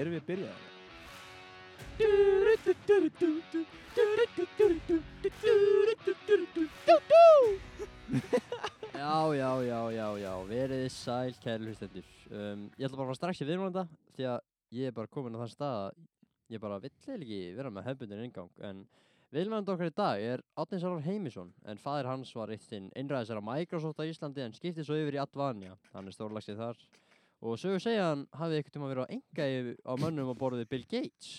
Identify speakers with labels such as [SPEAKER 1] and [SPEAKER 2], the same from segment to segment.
[SPEAKER 1] Erum við byrjaðið?
[SPEAKER 2] Já, já, já, já, já, verið þið sæl, kæri hlustendur. Um, ég ætla bara að fara strax í viðmálanda því að ég er bara komin á þann stað að ég bara vill eiginlega ekki vera með hefbundin inngang en viðmálanda okkar í dag er Átni Sálar Heimisson en fadir hans var eitt þinn einræðisera Microsoft á Íslandi en skipti svo yfir í Advania, hann er stórlagsið þar og sögur segja hann hafið ekkert um að vera á enga á mönnum á borðið Bill Gates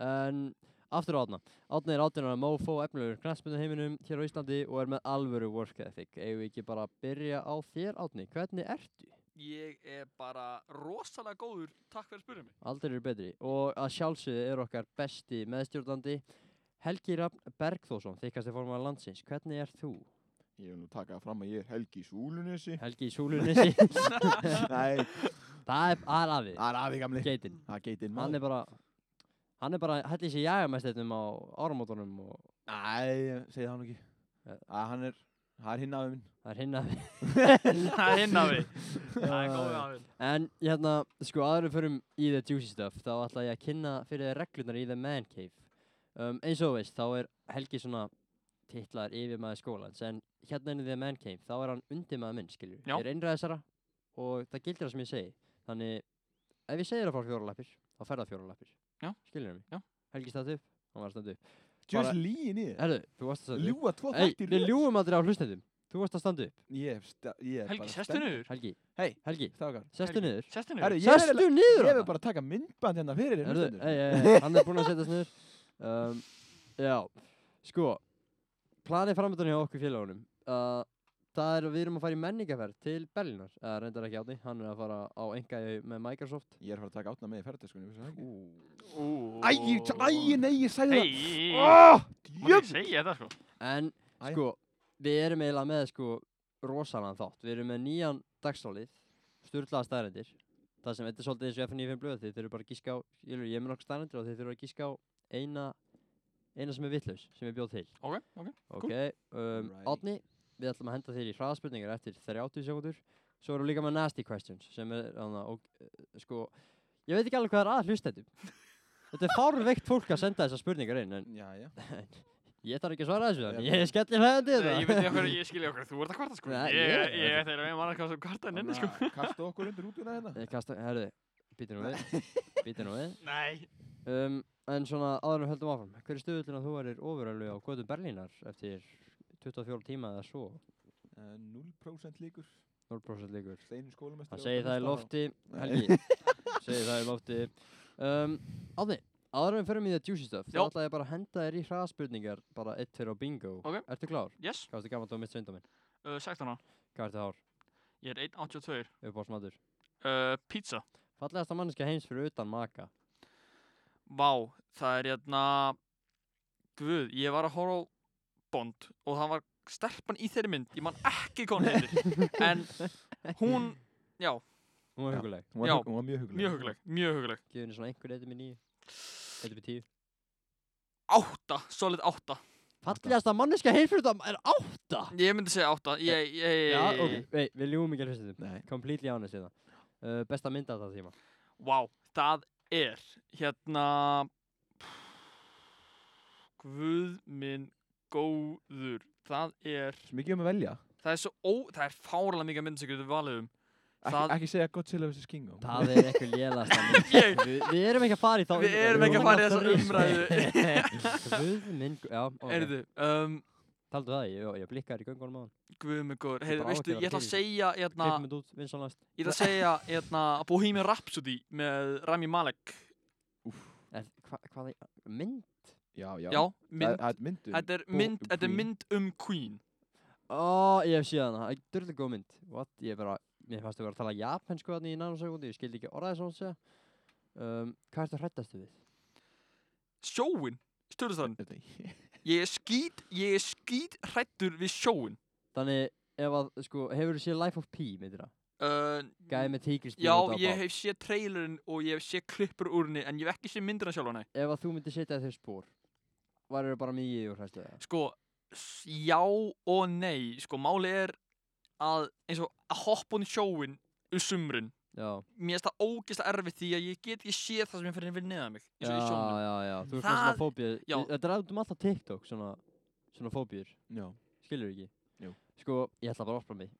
[SPEAKER 2] en aftur á Átna Átni er átunar að mófó efnilegur knæspinu heiminum hér á Íslandi og er með alvöru work ethic. Eigum við ekki bara að byrja á þér Átni? Hvernig ertu?
[SPEAKER 3] Ég er bara rosalega góður, takk fyrir að spyrja mig.
[SPEAKER 2] Aldrei eru betri. Og að sjálfsögðu er okkar besti meðstjórnandi Helgi Rafn Bergþórsson, þykast formaður landsins. Hvernig er þú?
[SPEAKER 4] Ég vil nú taka það fram að ég er Helgi í Súlunissi.
[SPEAKER 2] Helgi í súlunissi.
[SPEAKER 4] Nei,
[SPEAKER 2] það er, það er afið.
[SPEAKER 4] það er afi gamli.
[SPEAKER 2] Geitinn.
[SPEAKER 4] Það er geitinn
[SPEAKER 2] Hann er
[SPEAKER 4] maður.
[SPEAKER 2] bara, hann er bara, hætti sér jægamæstetnum á áramótunum og
[SPEAKER 4] Nei, ég segi það nú ekki.
[SPEAKER 2] Ja.
[SPEAKER 4] Að hann er, það er hinn afi minn.
[SPEAKER 2] það er hinn að
[SPEAKER 3] Það er hinn af við. Það er góð af við.
[SPEAKER 2] En hérna, sko aðurum förum í The Juicy Stuff þá ætla ég að kynna fyrir þér reglunar í The Man Cave um, eins og þú veist, þá er Helgi svona titlar yfir maður skólans en hérna inn í The Man Cave, þá er hann undir maður minn, skilur,
[SPEAKER 3] Já.
[SPEAKER 2] er einræðisara og það gildir það sem ég segi þannig, ef ég segir að fá fjóralappir þá fer það fjóralappir,
[SPEAKER 3] Já.
[SPEAKER 2] skilur mig
[SPEAKER 3] Já.
[SPEAKER 2] Helgi stætt upp, hann var að standa upp
[SPEAKER 4] Just líin í þér.
[SPEAKER 2] Herðu, þú varst að standa upp
[SPEAKER 4] Ljúa tvo
[SPEAKER 2] Ei,
[SPEAKER 4] þætti
[SPEAKER 2] við ljúum aldrei á hlustendum, þú varst að standa upp
[SPEAKER 4] Ég hef, sta- ég hef
[SPEAKER 3] Helgi, sestu niður.
[SPEAKER 2] Helgi,
[SPEAKER 4] Hey.
[SPEAKER 2] Helgi,
[SPEAKER 4] Strákar.
[SPEAKER 2] sestu
[SPEAKER 3] Helgi.
[SPEAKER 2] niður
[SPEAKER 3] Sestu
[SPEAKER 4] Herru,
[SPEAKER 3] niður.
[SPEAKER 4] ég er
[SPEAKER 2] Sestu
[SPEAKER 4] eiginlega-
[SPEAKER 2] niður
[SPEAKER 4] Ég
[SPEAKER 2] þarna.
[SPEAKER 4] hef bara að taka myndband hérna fyrir þér.
[SPEAKER 2] Erðu,
[SPEAKER 4] hlustendur.
[SPEAKER 2] ei, ei, ei, hann er búinn að setja sniður um, Já, sko Planið framöndan hjá okkur félagunum uh, Það er að við erum að fara í menningaferð til Berlínar eða reyndar ekki átni, hann er að fara á engaði með Microsoft
[SPEAKER 4] Ég er að fara að taka átna með í ferðardiskunni.
[SPEAKER 3] Ú.
[SPEAKER 4] Æ, ég- æ, nei, ég sagði það.
[SPEAKER 3] Hei,
[SPEAKER 4] Oh,
[SPEAKER 3] maður ekki segja þetta sko.
[SPEAKER 2] En
[SPEAKER 4] Æ.
[SPEAKER 2] sko, við erum eiginlega með sko rosalega þátt Við erum með nýjan dagstólið Sturlaða staðrendir Það sem, þetta er svolítið eins og FNF blöð Þið þurfum bara að gíska á, ég, ég er með nokkuð staðrendir og þið þurfum að gíska á eina eina sem er vitlaus, sem ég bjóð til
[SPEAKER 3] Ok, ok.
[SPEAKER 2] Ok,
[SPEAKER 3] Cool.
[SPEAKER 2] um,
[SPEAKER 4] Alright.
[SPEAKER 2] Átni, við ætlum að henda þér í hraðspurningar eftir 30 sekundur Svo erum við líka með nasty questions sem er, hana, og, uh, sko, ég veit ekki alveg hvað er að hlustendum Þetta er fárveikt fólk að senda þessar spurningar inn en
[SPEAKER 4] Já, já.
[SPEAKER 2] ég þarf ekki að svara þessu þannig
[SPEAKER 4] Já.
[SPEAKER 2] ég skellir hægandi
[SPEAKER 3] Ég, ég veit
[SPEAKER 2] þetta hérna.
[SPEAKER 3] ekki okkur, ég skilja okkur, þú ert að kvarta sko.
[SPEAKER 2] Nei,
[SPEAKER 3] Ég,
[SPEAKER 2] ég-
[SPEAKER 3] ég veit þeirra einu mann hvað sem kvarta en inni sko.
[SPEAKER 4] Þannig að Kasta okkur undir útuna hérna.
[SPEAKER 2] Ég kasta, herðu, býtir nú við Býtir nú við
[SPEAKER 3] Nei.
[SPEAKER 2] um, En svona áður en við höldum áfram Hver er stöðullin að þú erir ofurölu á Götu Berlínar eftir 24 tíma eða svo?
[SPEAKER 4] Eh, 0% líkur.
[SPEAKER 2] 0% líkur
[SPEAKER 4] Steinin skólumestri.
[SPEAKER 2] Hann segir það í lofti, Helgi segir það í lofti um, Átni, áður en við förum í það juicy stuff þá
[SPEAKER 3] Já. ætla
[SPEAKER 2] ætla ég bara að henda þér í hraðspurningar bara eitt fyrir á bingo
[SPEAKER 3] Ok.
[SPEAKER 2] Ertu klár?
[SPEAKER 3] Yes,
[SPEAKER 2] Hvað ertu gaman þú mitt svindaminn?
[SPEAKER 3] uh, 16 ára.
[SPEAKER 2] Hvað ertu hár?
[SPEAKER 3] Ég er 1.82.
[SPEAKER 2] Upp á smadur
[SPEAKER 3] Uh, pizza.
[SPEAKER 2] Fallegasta manneskja heims fyrir utan maka
[SPEAKER 3] Vá, það er hérna Guð, ég var að horfa á Bond og það var stelpan í þeirri mynd ég man ekki hvað hún heitir en hún, já,
[SPEAKER 2] Hún var
[SPEAKER 4] Já.
[SPEAKER 2] huguleg
[SPEAKER 4] Hún var,
[SPEAKER 3] Já.
[SPEAKER 4] hug- hún var mjög hugleg.
[SPEAKER 3] mjög hugleg mjög hugleg,
[SPEAKER 2] Gjöðu henni svona einhver eitthvað með nýju Eitthvað með tíu
[SPEAKER 3] átta, solid átta
[SPEAKER 2] Fallegasta manneskja heims fyrir utan er átta
[SPEAKER 3] ég myndi segja átta ég, ég,
[SPEAKER 2] Já, ok, Nei, við ljúum ekki að fyrstu
[SPEAKER 4] Nei.
[SPEAKER 2] Completely honest í það uh, Besta mynda þetta tíma
[SPEAKER 3] Vá, það er hérna Guð minn góður það er,
[SPEAKER 4] Svo mikið um að velja.
[SPEAKER 3] það er svo ó, það er fárlega mikið mynd sem getur valið um
[SPEAKER 4] Ekki,
[SPEAKER 3] Það-
[SPEAKER 4] ekki segja Godzilla vs. King Kong.
[SPEAKER 2] Það er eitthvað lélasta mynd
[SPEAKER 3] ég,
[SPEAKER 2] Vi, við erum ekki að fara í þá
[SPEAKER 3] Við erum ekki að fara í þessa
[SPEAKER 2] umræðu Guð minn, gu- já, ok
[SPEAKER 3] erðu um,
[SPEAKER 2] Taldu það, ég, ég blikkaði í göngunum á hann
[SPEAKER 3] Guðmuggur,
[SPEAKER 2] Þetta
[SPEAKER 3] heyrðu,
[SPEAKER 2] á
[SPEAKER 3] veistu,
[SPEAKER 2] ekki að vera
[SPEAKER 3] ég ætla að
[SPEAKER 2] til.
[SPEAKER 3] segja hérna,
[SPEAKER 2] Klippum þetta út, vinsanlæst
[SPEAKER 3] ég ætla að segja hérna, Bohemian Rhapsody með Rami Malek
[SPEAKER 2] hva, Hvað er, mynd?
[SPEAKER 4] Já, já.
[SPEAKER 3] já, mynd,
[SPEAKER 4] Það er myndur.
[SPEAKER 3] þetta er
[SPEAKER 4] Bo-
[SPEAKER 3] mynd,
[SPEAKER 4] um
[SPEAKER 3] þetta er
[SPEAKER 4] Queen.
[SPEAKER 3] mynd um Queen
[SPEAKER 2] Ó, ég hef séð hana, það er dörlega góð mynd What, ég bara, mér fannst að vera að tala japensku þannig í nanosekundi Ég skildi ekki orðaði svona segja um, Hvað ertu hrættastu við?
[SPEAKER 3] sjóin, stjórnstæðan
[SPEAKER 4] Þetta er-
[SPEAKER 3] ég er skýt, ég er skýt hrættur við sjóin
[SPEAKER 2] Þannig, ef að, sko, hefur þú séð Life of P, myndir það?
[SPEAKER 3] uh,
[SPEAKER 2] Gæði með tíkristýr
[SPEAKER 3] já, ég hef séð trailerinn og ég hef séð klippur úr henni en ég hef ekki séð myndina sjálfa, nei
[SPEAKER 2] Ef að þú myndir setja þér spór Varir bara mikið og hrættu það?
[SPEAKER 3] sko, s- já og nei sko, máli er að eins og að hoppa hún sjóin um sumrin
[SPEAKER 2] já,
[SPEAKER 3] mér finnst það ógeðslega erfitt því að ég get ekki séð það sem er fyrir fyrir neðan mig eins
[SPEAKER 2] já,
[SPEAKER 3] og í sjónum
[SPEAKER 2] já, já, þú ert með
[SPEAKER 3] Það-
[SPEAKER 2] svona fóbíu
[SPEAKER 3] já.
[SPEAKER 2] Þetta er út um alltaf TikTok, svona, svona fóbíur
[SPEAKER 4] Já,
[SPEAKER 2] Skilur ekki?
[SPEAKER 4] Jú.
[SPEAKER 2] Sko, ég ætla bara að opna mig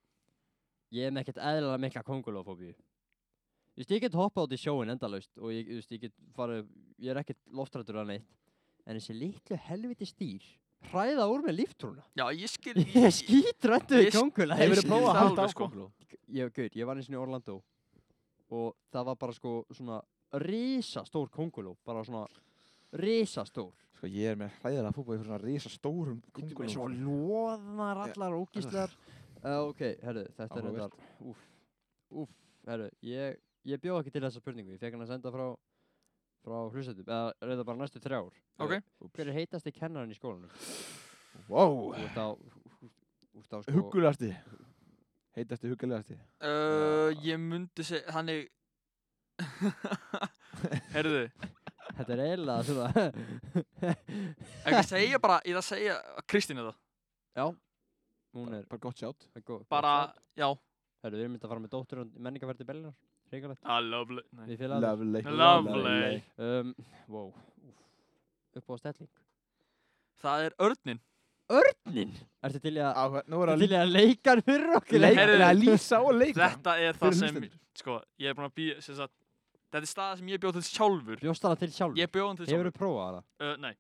[SPEAKER 2] Ég er með ekkert eðlilega mikla kongulófóbíu Þú veist, ég get hoppað út í sjóin endalaust og ég, þú veist, ég get farið Ég er ekkert loftrættur að neitt En þessi litlu helviti stýr hræða úr með líftrúna
[SPEAKER 3] já, ég skil
[SPEAKER 2] Ég er skítrættur
[SPEAKER 3] Ég
[SPEAKER 2] við
[SPEAKER 3] sk-
[SPEAKER 2] kongulófóbíu
[SPEAKER 3] Hefurðu
[SPEAKER 4] Hefurðu
[SPEAKER 3] skil
[SPEAKER 4] prófað að
[SPEAKER 3] það
[SPEAKER 4] halda
[SPEAKER 3] alveg,
[SPEAKER 4] á
[SPEAKER 3] sko.
[SPEAKER 4] konguló?
[SPEAKER 2] ég, gauð, ég var eins og í Orlando og það var bara sko svona risastór konguló, bara svona risastór
[SPEAKER 4] Sko, ég er með hræðilega fútbol fyrir svona risa stórum
[SPEAKER 2] Konguló. Svo
[SPEAKER 4] konguló.
[SPEAKER 2] loðnar allar og ógíslar uh, Ok, herru, þetta er
[SPEAKER 4] Áhugavert.
[SPEAKER 2] þetta Úf, úf, herru Ég, ég bjóð ekki til þessa spurningu Ég fekk hann að senda frá frá hlustetum, eða reyða bara næstu þrjár
[SPEAKER 3] Ok.
[SPEAKER 2] Uh, Hver er heitasti kennarinn í skólanum?
[SPEAKER 4] Wow.
[SPEAKER 2] Þú ert á, þú ert á sko
[SPEAKER 4] Huggulegasti. Heitasti huggulegasti.
[SPEAKER 3] uh, ég myndi segja, þannig herðu
[SPEAKER 2] Þetta er eiginlega svona
[SPEAKER 3] ekki að segja bara, ég ætla að segja Kristín þetta,
[SPEAKER 2] Já, hún er
[SPEAKER 4] Bara gott sjátt.
[SPEAKER 2] það er góð
[SPEAKER 3] bara, já
[SPEAKER 2] Herru, við erum myndið að fara með dóttur og menningarverði Bellinar Ríkalegt
[SPEAKER 3] ah, lovely, nei,
[SPEAKER 2] Við félagarnir.
[SPEAKER 4] Lovely.
[SPEAKER 3] lovely
[SPEAKER 2] um, Wow úff, Upp á stelling
[SPEAKER 3] það er örninn
[SPEAKER 2] Örnin Ertu til í að
[SPEAKER 4] Áhver, hérna, nú er
[SPEAKER 2] Ertu
[SPEAKER 4] að
[SPEAKER 2] til í að leika hann fyrir okkur
[SPEAKER 3] Leik-
[SPEAKER 2] Herru,
[SPEAKER 3] Heyrðu,
[SPEAKER 4] leika, lísa og leika.
[SPEAKER 3] þetta er það sem, sko, ég er búin að býja sem sagt, þetta er staða sem ég bjóð til sjálfur
[SPEAKER 2] Bjóst hana til sjálf
[SPEAKER 3] ég bjóð hann til
[SPEAKER 2] Hefur
[SPEAKER 3] sjálfur,
[SPEAKER 2] þú prófað hana? Eh,
[SPEAKER 3] uh, nei,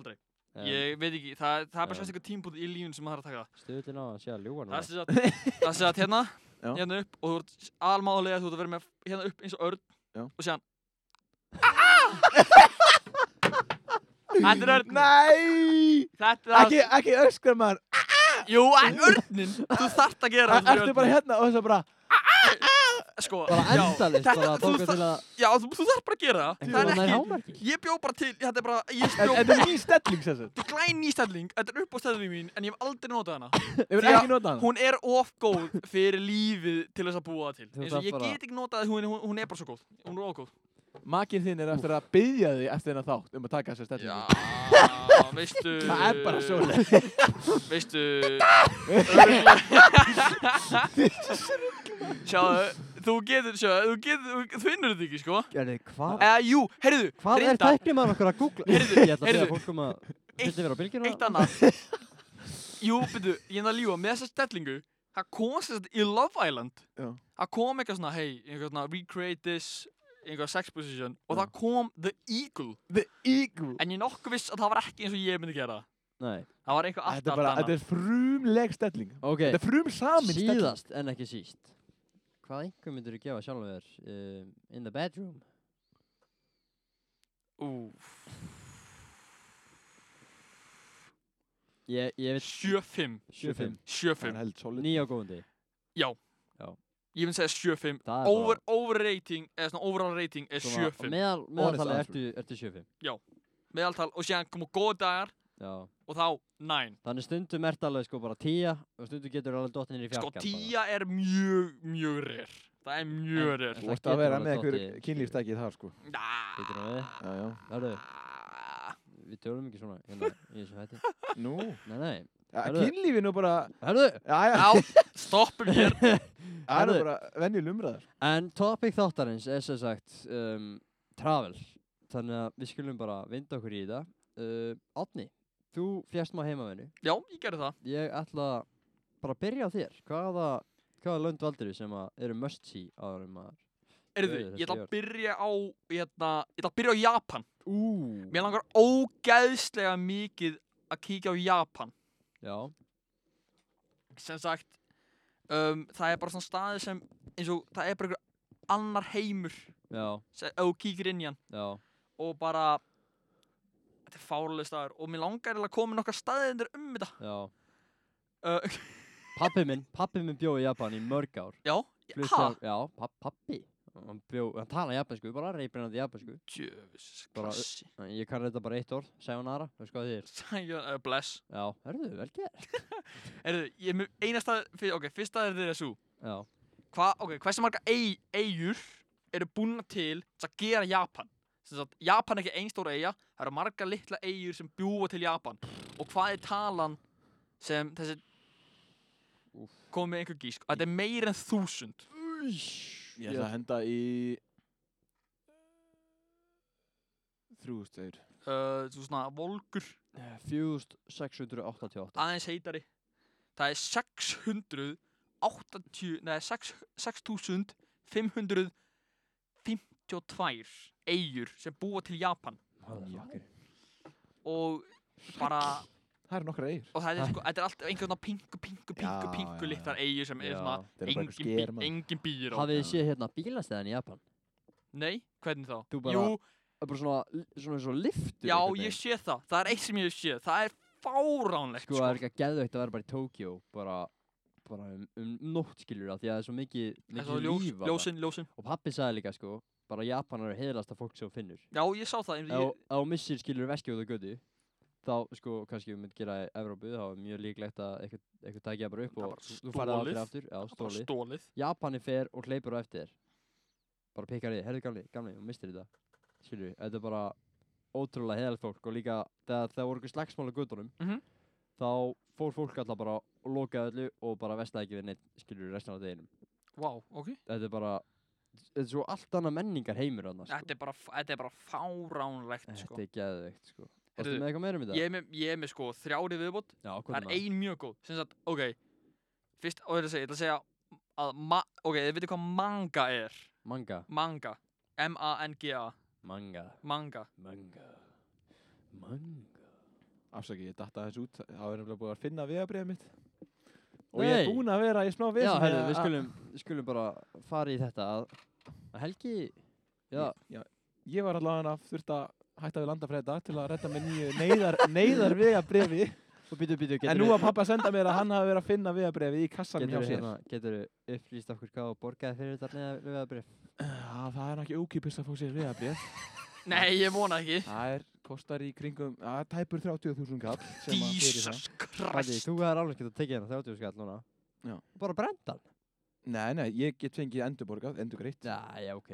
[SPEAKER 3] aldrei ég veit ekki, það, það er bara
[SPEAKER 2] Já.
[SPEAKER 3] sérstaklega tímpúti í lífun sem maður þarf að taka það
[SPEAKER 2] Stöðlinn á að sé að ljúa
[SPEAKER 3] Það
[SPEAKER 2] núna
[SPEAKER 3] er sem sagt- það er sem sagt hérna,
[SPEAKER 4] Já.
[SPEAKER 3] hérna upp og þú ert almáðulega þú ert að vera með hérna upp eins og örn
[SPEAKER 4] Já.
[SPEAKER 3] og séðan Þetta er örn
[SPEAKER 4] Nei!
[SPEAKER 3] Þetta er
[SPEAKER 4] Ekki, ekki öskra maður.
[SPEAKER 3] það Jú, en örnin Þú þarft að gera það fyrir
[SPEAKER 4] Ertu bara
[SPEAKER 3] örninn.
[SPEAKER 4] hérna og þess að bara
[SPEAKER 3] Sko,
[SPEAKER 2] Bara
[SPEAKER 3] já,
[SPEAKER 2] endalist
[SPEAKER 3] þetta-
[SPEAKER 2] Bara að
[SPEAKER 3] þú
[SPEAKER 2] tóka til
[SPEAKER 3] þarft-
[SPEAKER 2] að
[SPEAKER 3] Já, þú, þú þarft bara að gera það Það
[SPEAKER 2] Þetta
[SPEAKER 3] er
[SPEAKER 2] er
[SPEAKER 3] ekki
[SPEAKER 2] hámarki
[SPEAKER 3] Ég bjó bara til, þetta er bara Ég bjó
[SPEAKER 4] Þetta er ný stelling sem sagt.
[SPEAKER 3] Þetta er glæn nýstælling, þetta er upp á stæðinu mín En ég hef aldrei notað hana
[SPEAKER 4] Ég verð
[SPEAKER 3] Því að
[SPEAKER 4] ekki nota hana.
[SPEAKER 3] Hún er of góð fyrir lífið til þess að búa
[SPEAKER 2] Þú
[SPEAKER 3] það til Eins og
[SPEAKER 2] þarft
[SPEAKER 3] ég
[SPEAKER 2] bara-
[SPEAKER 3] get ekki notað hún, hún, hún er bara svo góð Hún er of góð
[SPEAKER 4] Makin þinn er eftir að byggja þig eftir þennan þátt um að taka þessa stellingu.
[SPEAKER 3] Já, veistu
[SPEAKER 4] Það er bara svolítið.
[SPEAKER 3] Veistu örugglega- Sjáðu, þú getur, sjáðu, þú getur, þú finnur þetta ekki, sko
[SPEAKER 2] Erðu, hvað
[SPEAKER 3] Eða, jú, heyrðu,
[SPEAKER 2] Hvað er
[SPEAKER 3] reyndar,
[SPEAKER 2] tæknir maður okkur að googla?
[SPEAKER 3] Heyrðu,
[SPEAKER 2] Ég ætla að segja
[SPEAKER 3] heyrðu.
[SPEAKER 2] fólk um að Viltu vera á bylgjuna?
[SPEAKER 3] eitt annað Jú, byrju, ég er að ljúga, með þessa stellingu Það kom sérst í Love Island
[SPEAKER 4] Já.
[SPEAKER 3] Það kom eitthvað svona, hey, einhver svona, recreate this einhver sex position og
[SPEAKER 4] Já.
[SPEAKER 3] það kom The Eagle
[SPEAKER 4] The Eagle.
[SPEAKER 3] en ég er nokkuð viss að það var ekki eins og ég myndi gera það.
[SPEAKER 2] Nei
[SPEAKER 3] það var eitthvað allt
[SPEAKER 4] Þetta er bara,
[SPEAKER 3] allt annað
[SPEAKER 4] þetta er frumleg stelling.
[SPEAKER 2] Ok
[SPEAKER 4] Þetta er frum samin stelling.
[SPEAKER 2] Síðast en ekki síst Hvað einhver myndur þú gefa sjálfum þér um, In the bedroom?
[SPEAKER 3] Úff.
[SPEAKER 2] Ég, ég veit
[SPEAKER 3] 7-5
[SPEAKER 2] 7-5
[SPEAKER 4] Það er
[SPEAKER 3] 7-5
[SPEAKER 4] held solid.
[SPEAKER 2] Nýja og góðandi
[SPEAKER 3] Ég myndi segja 7-5
[SPEAKER 2] Það er
[SPEAKER 3] Over, overrating, eða svona overall rating er
[SPEAKER 2] svona-
[SPEAKER 3] 7-5
[SPEAKER 2] Meðal, meðaltali
[SPEAKER 4] answer.
[SPEAKER 2] ertu, ertu 7-5
[SPEAKER 3] Meðaltal og síðan komu góð dagar
[SPEAKER 2] Já
[SPEAKER 3] og þá 9
[SPEAKER 2] Þannig stundum ert alveg sko bara 10 og stundum getur alveg dottinir í
[SPEAKER 3] Sko
[SPEAKER 2] fjarkan
[SPEAKER 3] 10 er mjög, mjög rare Það er mjög
[SPEAKER 2] En-
[SPEAKER 3] rare
[SPEAKER 2] en-
[SPEAKER 4] Þú ert að vera með einhver kynlífstækið þar sko.
[SPEAKER 2] Getur það verið?
[SPEAKER 4] Já, já.
[SPEAKER 2] Hörru, við tölum ekki svona hérna í þessu hætti
[SPEAKER 4] Nú.
[SPEAKER 2] Nei, nei
[SPEAKER 4] Ja,
[SPEAKER 2] Herðu.
[SPEAKER 4] Kynlífin og bara,
[SPEAKER 2] Hörru
[SPEAKER 4] já, já,
[SPEAKER 3] Já, stoppum hér
[SPEAKER 4] það
[SPEAKER 2] Herðu.
[SPEAKER 4] eru bara sko. venjul umræðar.
[SPEAKER 2] En topic þáttarins er sem sagt um, travel Þannig að við skulum bara vinda okkur í það uh, Átni, þú fjast maður heimavinu
[SPEAKER 3] Já, ég gerði það
[SPEAKER 2] Ég ætla bara að byrja á þér Hvaða, hvaða lönd valdir við sem að eru must see áður um að
[SPEAKER 3] Erðu,
[SPEAKER 2] Jú, þetta
[SPEAKER 3] ég ætla
[SPEAKER 2] er
[SPEAKER 3] að byrja á hérna, Ég ætla að byrja á Japan
[SPEAKER 2] Ú
[SPEAKER 3] Mér langar ógeðslega mikið að kíkja á Japan
[SPEAKER 2] Já,
[SPEAKER 3] sem sagt um, það er bara svona staði sem eins og það er bara einhver annar heimur
[SPEAKER 2] já,
[SPEAKER 3] sem ef þú kíkir inn í hann
[SPEAKER 2] já
[SPEAKER 3] og bara þetta er fárlega staður og mér langar eiginlega að koma með nokkar staðindir um þetta
[SPEAKER 2] Já,
[SPEAKER 3] uh,
[SPEAKER 2] pappi minn, pappi minn bjó í Japan í mörg ár
[SPEAKER 3] já,
[SPEAKER 2] Flutti
[SPEAKER 3] ha
[SPEAKER 2] á- Já, pa pappi Hann bjó, hann talaði japansku, bara reypinandi japansku
[SPEAKER 3] djöfus,
[SPEAKER 2] Bara-
[SPEAKER 3] klassi
[SPEAKER 2] Þannig Ég kann þetta bara eitt orð, sayonara, þú sko að þið er
[SPEAKER 3] Sæjón, uh, bless
[SPEAKER 2] Já, hörðu, vel gert
[SPEAKER 3] Erðu, ég er með eina stað, fyr, ok, fyrst staðið er þessu
[SPEAKER 2] Já,
[SPEAKER 3] Hva, ok, hversu marga ei, eigur eru búna til til að gera Japan sem sagt, Japan er ekki ein stóra eiga það eru marga litla eigur sem bjúa til Japan og hvað er talan sem þessi
[SPEAKER 2] Úff.
[SPEAKER 3] komið einhver gísk þetta er meir en þúsund
[SPEAKER 4] Ég ætla
[SPEAKER 2] Já.
[SPEAKER 4] að henda í 3000 eður.
[SPEAKER 3] uh, þú svona volgur
[SPEAKER 2] 4688
[SPEAKER 3] aðeins heitari það er 680 neða 6 6552 eigur sem búa til Japan
[SPEAKER 2] Motherfucker.
[SPEAKER 3] og bara
[SPEAKER 4] Það eru nokkra eður.
[SPEAKER 3] og það er, sko, þetta er allt einhvern veginn pingu, pingu, pingu,
[SPEAKER 4] Já,
[SPEAKER 3] pingu
[SPEAKER 4] já,
[SPEAKER 3] litlar eigur sem er
[SPEAKER 2] Já.
[SPEAKER 3] svona
[SPEAKER 4] Þetta eru bara
[SPEAKER 3] engin,
[SPEAKER 4] eitthvað sker,
[SPEAKER 3] bí,
[SPEAKER 4] maður.
[SPEAKER 3] engin býr á
[SPEAKER 2] Hafið þið
[SPEAKER 4] Já.
[SPEAKER 2] séð hérna bílastæðan í Japan?
[SPEAKER 3] nei, hvernig þá?
[SPEAKER 2] Þú bara-
[SPEAKER 3] Jú,
[SPEAKER 2] Það er bara svona, svona, svona liftur
[SPEAKER 3] já,
[SPEAKER 2] einhvern
[SPEAKER 3] ég
[SPEAKER 2] veginn.
[SPEAKER 3] sé það það er eitt sem ég hef séð, það er fáránlegt
[SPEAKER 2] Sko,
[SPEAKER 3] sko,
[SPEAKER 2] það er ekki að geðveikt að vera bara í Tókjó bara, bara um, um nótt skilur það því að það er svo mikið,
[SPEAKER 3] en svo
[SPEAKER 2] mikið
[SPEAKER 3] ljós,
[SPEAKER 2] líf þarna.
[SPEAKER 3] ljósin, ljósin
[SPEAKER 2] og pappi sagði líka sko bara Japanar er heiðlasta fólk sem þú finnur
[SPEAKER 3] já, ég sá það,
[SPEAKER 2] ef
[SPEAKER 3] ég,
[SPEAKER 2] ef þú missir skilur veskið út á götu þá sko kannski við myndum gera í Evrópu þá er mjög líklegt að eitthvað, eitthvað tækja bara upp
[SPEAKER 3] Það er
[SPEAKER 2] og
[SPEAKER 3] bara
[SPEAKER 2] þú- þú færði aldrei
[SPEAKER 3] stolið.
[SPEAKER 2] aftur já,
[SPEAKER 3] bara
[SPEAKER 2] stólið
[SPEAKER 3] stólið
[SPEAKER 2] Japani fer og hleypur á eftir þér bara pikkar í, herðu gamli, gamli og mistir þetta skilur, þetta er bara ótrúlega heiðalegt fólk og líka þegar það voru einhver slagsmál á götunum
[SPEAKER 3] Mhm.
[SPEAKER 2] þá fór fólk alltaf bara og lokaði öllu og bara vestaði ekki við neitt skilur restan af deginum
[SPEAKER 3] wow, ok
[SPEAKER 2] þetta er bara, þetta er svo allt annað menningar heimur annars sko.
[SPEAKER 3] Þetta er bara, þetta er bara fáránlegt
[SPEAKER 2] Þetta
[SPEAKER 3] sko.
[SPEAKER 2] er geðveikt sko Ertu
[SPEAKER 3] Heyrðu,
[SPEAKER 2] með eitthvað meira um þetta?
[SPEAKER 3] Ég er með, ég er með sko þrjári viðbót
[SPEAKER 2] Já,
[SPEAKER 3] Það
[SPEAKER 2] hvað
[SPEAKER 3] er ein mjög góð Sem sagt, ok Fyrst, og ég ætla að segja, ég ætla að segja að ma, Ok, þið veitir hvað manga er
[SPEAKER 2] Manga
[SPEAKER 3] Manga M-A-N-G-A
[SPEAKER 2] Manga
[SPEAKER 3] Manga
[SPEAKER 2] Manga Manga
[SPEAKER 4] Afsaki, ég datta þessu út. Það er nefnilega búið að finna vegabriðið mitt. Og ég er
[SPEAKER 2] Nei.
[SPEAKER 4] búinn að vera í smá vesen.
[SPEAKER 2] Já, herru, við skulum, skulum bara fara í þetta að að Helgi Já,
[SPEAKER 4] Já, ég var allavega að þurft að hætta við landafræða til að redda mér nýju neyðar, neyðar vegabriði.
[SPEAKER 2] og býtu, býtu, getur
[SPEAKER 4] En nú að pappa senda mér að hann hafi verið að finna vegabriði í kassanum hjá
[SPEAKER 2] Getur
[SPEAKER 4] sér.
[SPEAKER 2] hérna, getur upplýst okkur hvað og borgaði fyrir þetta neða lögabrif
[SPEAKER 4] Já, það er nú ekki ókipis að fá sér vegabrið.
[SPEAKER 3] Nei, ég vona ekki
[SPEAKER 4] Það er, kostar í kringum, það er tæpur 30.000 kall. sem að fyrir það.
[SPEAKER 3] Jesus
[SPEAKER 2] Hætti,
[SPEAKER 3] Christ
[SPEAKER 2] þú hefur alveg getað tekið hérna 30 skall núna
[SPEAKER 4] Já.
[SPEAKER 2] Og Bara brendan
[SPEAKER 4] Nei, nei, ég get fengið endurborgað, endurgreitt.
[SPEAKER 2] Já, já, ok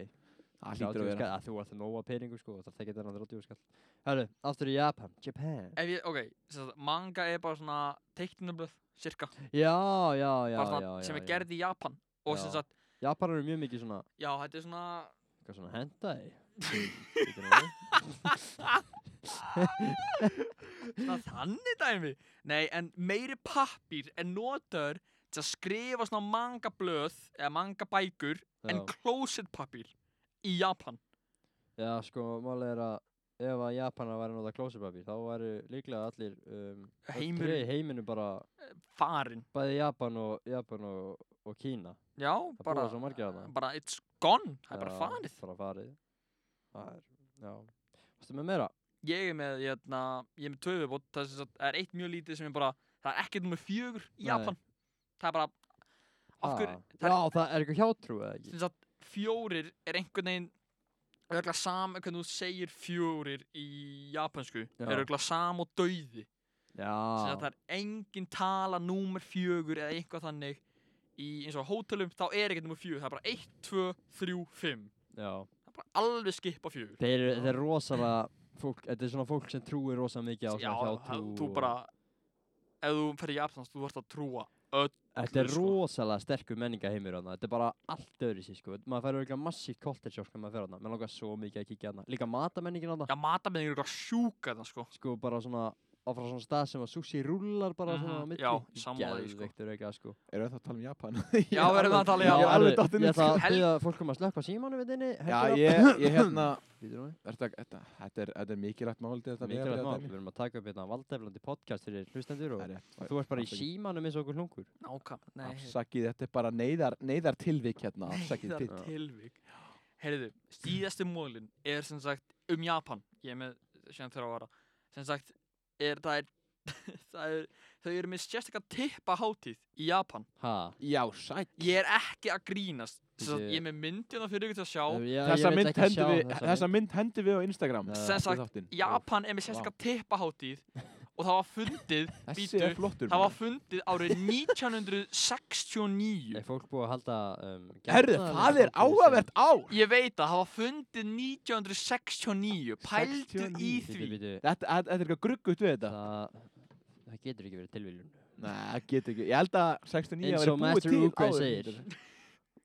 [SPEAKER 4] Það hlýtur
[SPEAKER 2] 30
[SPEAKER 4] að vera.
[SPEAKER 2] skall, að Þú ert nóga peningur sko, það tekið þennan 30 skall Herru, aftur í Japan Japan
[SPEAKER 3] Ef ég, ok, sem sagt, manga er bara svona teiknunablöð, cirka
[SPEAKER 2] Já, já, já,
[SPEAKER 3] Bara svona
[SPEAKER 2] já, já
[SPEAKER 3] sem er
[SPEAKER 2] já.
[SPEAKER 3] gerð í Japan Og sem
[SPEAKER 2] Já.
[SPEAKER 3] sagt,
[SPEAKER 2] Japanar eru mjög mikið svona,
[SPEAKER 3] já, þetta er svona
[SPEAKER 2] eitthvað svona hentai Bíddu nú við.
[SPEAKER 3] svona þannig dæmi Nei, en meiri pappir en notaður til að skrifa svona manga blöð eða manga bækur en
[SPEAKER 2] Já,
[SPEAKER 3] closet pappir í Japan
[SPEAKER 2] já, sko, málið er að ef að Japanar væri að nota klósipapir þá væri líklega allir um, öll
[SPEAKER 3] Heimurinn-
[SPEAKER 2] tré í heiminum bara,
[SPEAKER 3] farin
[SPEAKER 2] bæði Japan og, Japan og, og Kína
[SPEAKER 3] Já,
[SPEAKER 2] Það
[SPEAKER 3] bara,
[SPEAKER 2] búa svo margir þarna.
[SPEAKER 3] bara it's gone, það er bara
[SPEAKER 2] Já,
[SPEAKER 3] farið
[SPEAKER 2] Bara farið Það er, já Vastu með meira?
[SPEAKER 3] Ég er með, ég, na, ég er með tvö viðbót það er, sem sagt- það er eitt mjög lítið sem er bara það er ekkert nummer fjögur í
[SPEAKER 2] Nei.
[SPEAKER 3] Japan það er bara
[SPEAKER 2] Ha,
[SPEAKER 3] af hverju, það er-
[SPEAKER 2] Ah. Já, það er eitthvað hjátrú eða ekki
[SPEAKER 3] sem sagt, fjórir er einhvern veginn örgla sam, hvernig þú segir fjórir í japansku,
[SPEAKER 2] Já. Ah.
[SPEAKER 3] er örgla sam og dauði sem að
[SPEAKER 2] Já,
[SPEAKER 3] það er engin tala númer fjögur eða eitthvað þannig í eins og hótelum, þá er ekkert númer fjögur það er bara 1, 2, 3, 5
[SPEAKER 2] já
[SPEAKER 3] það er bara alveg skipa fjögur
[SPEAKER 2] Þeir eru, þeir eru rosalega fólk, þetta er svona fólk sem trúir rosalega mikið á
[SPEAKER 3] já,
[SPEAKER 2] svona hjátrú
[SPEAKER 3] það- þú
[SPEAKER 2] og-
[SPEAKER 3] bara ef þú fyrir Japans, þú vart að trúa öll
[SPEAKER 2] Þetta er
[SPEAKER 3] sko.
[SPEAKER 2] rosalega sterkur menningaheimur hana. Þetta er bara allt öðru sér sko. Maður færður eitthvað massíft culture shock þegar maður fer hana. Mér langar svo mikið að kíkja hana. Líka matamenningin hana.
[SPEAKER 3] já, mata með einhverjum sjúka það sko
[SPEAKER 2] Sko bara svona, áfram svona stað sem að sushi rullar bara svona á
[SPEAKER 3] Mhm,
[SPEAKER 2] milli.
[SPEAKER 3] já, sammála því, sko.
[SPEAKER 2] Geðveikt er ekki að sko.
[SPEAKER 4] Erum við það að tala um Japan?
[SPEAKER 3] Já, við erum að tala, já.
[SPEAKER 4] Ég er alveg sko.
[SPEAKER 2] herru,
[SPEAKER 4] dottinn
[SPEAKER 2] um Ég ætla
[SPEAKER 4] út.
[SPEAKER 2] að
[SPEAKER 3] sko. Hel-
[SPEAKER 2] byggja fólk um að slökka símanum við þinni.
[SPEAKER 4] Já, ég, ég hérna,
[SPEAKER 2] Býtur nú.
[SPEAKER 4] þetta, þetta, þetta, er, þetta er mikilvægt mál til þetta
[SPEAKER 2] Mikilvægt mál. Við
[SPEAKER 4] vegabréfadæmi.
[SPEAKER 2] erum að taka upp hérna valdeflandi podcast fyrir hlustendur
[SPEAKER 4] Það
[SPEAKER 2] og
[SPEAKER 4] er rétt.
[SPEAKER 2] þú ert bara í
[SPEAKER 4] Afsakið.
[SPEAKER 2] símanum eins og okkur hlungur.
[SPEAKER 3] nákvæm, nei,
[SPEAKER 4] Afsakið, þetta er bara neyðar, neyðar tilvik hérna, afsakið
[SPEAKER 3] neyðar
[SPEAKER 4] til.
[SPEAKER 2] Já.
[SPEAKER 3] tilvík heyrðu, síðasti múlin er sem sagt um Japan ég er með sem þeirra vara sem sagt, er, það er, það er þau eru með sérstaka tippa hátíð í Japan
[SPEAKER 2] Ha?
[SPEAKER 4] Já, sætt.
[SPEAKER 3] ég er ekki að grínast sem sagt,
[SPEAKER 2] Bíddu.
[SPEAKER 3] ég er með myndina fyrir ykkur til að sjá
[SPEAKER 2] Ég- ég
[SPEAKER 4] Þessa
[SPEAKER 2] veit
[SPEAKER 4] mynd,
[SPEAKER 2] ekki að sjá
[SPEAKER 4] hendi við,
[SPEAKER 2] þessa
[SPEAKER 4] þessa mynd hendi við á Instagram.
[SPEAKER 2] Nei.
[SPEAKER 4] eftir
[SPEAKER 3] Sem sagt,
[SPEAKER 4] þáttinn.
[SPEAKER 3] Japan er með sérstaka tippa hátíð og það var fundið
[SPEAKER 4] Þessi er
[SPEAKER 3] bíddu,
[SPEAKER 4] flottur.
[SPEAKER 3] það var
[SPEAKER 4] maður.
[SPEAKER 3] fundið árið 1969
[SPEAKER 2] Er fólk búið að halda um,
[SPEAKER 4] Herðu,
[SPEAKER 2] getnaðarvörn
[SPEAKER 4] það
[SPEAKER 2] á því
[SPEAKER 4] er
[SPEAKER 2] sem-
[SPEAKER 4] áhugavert ár.
[SPEAKER 3] Ég veit að það var fundið 1969 Pældu í
[SPEAKER 4] 69,
[SPEAKER 3] því
[SPEAKER 2] Bíddu, bíddu,
[SPEAKER 4] Þetta þetta- þetta er eitthvað gruggut við þetta.
[SPEAKER 2] það, það getur ekki verið tilviljun
[SPEAKER 4] Nei, það getur ekki. Ég held að 69
[SPEAKER 2] eins
[SPEAKER 4] hafi
[SPEAKER 2] og
[SPEAKER 4] verið búið
[SPEAKER 2] Master
[SPEAKER 4] til
[SPEAKER 2] Uguay
[SPEAKER 4] árið.
[SPEAKER 2] segir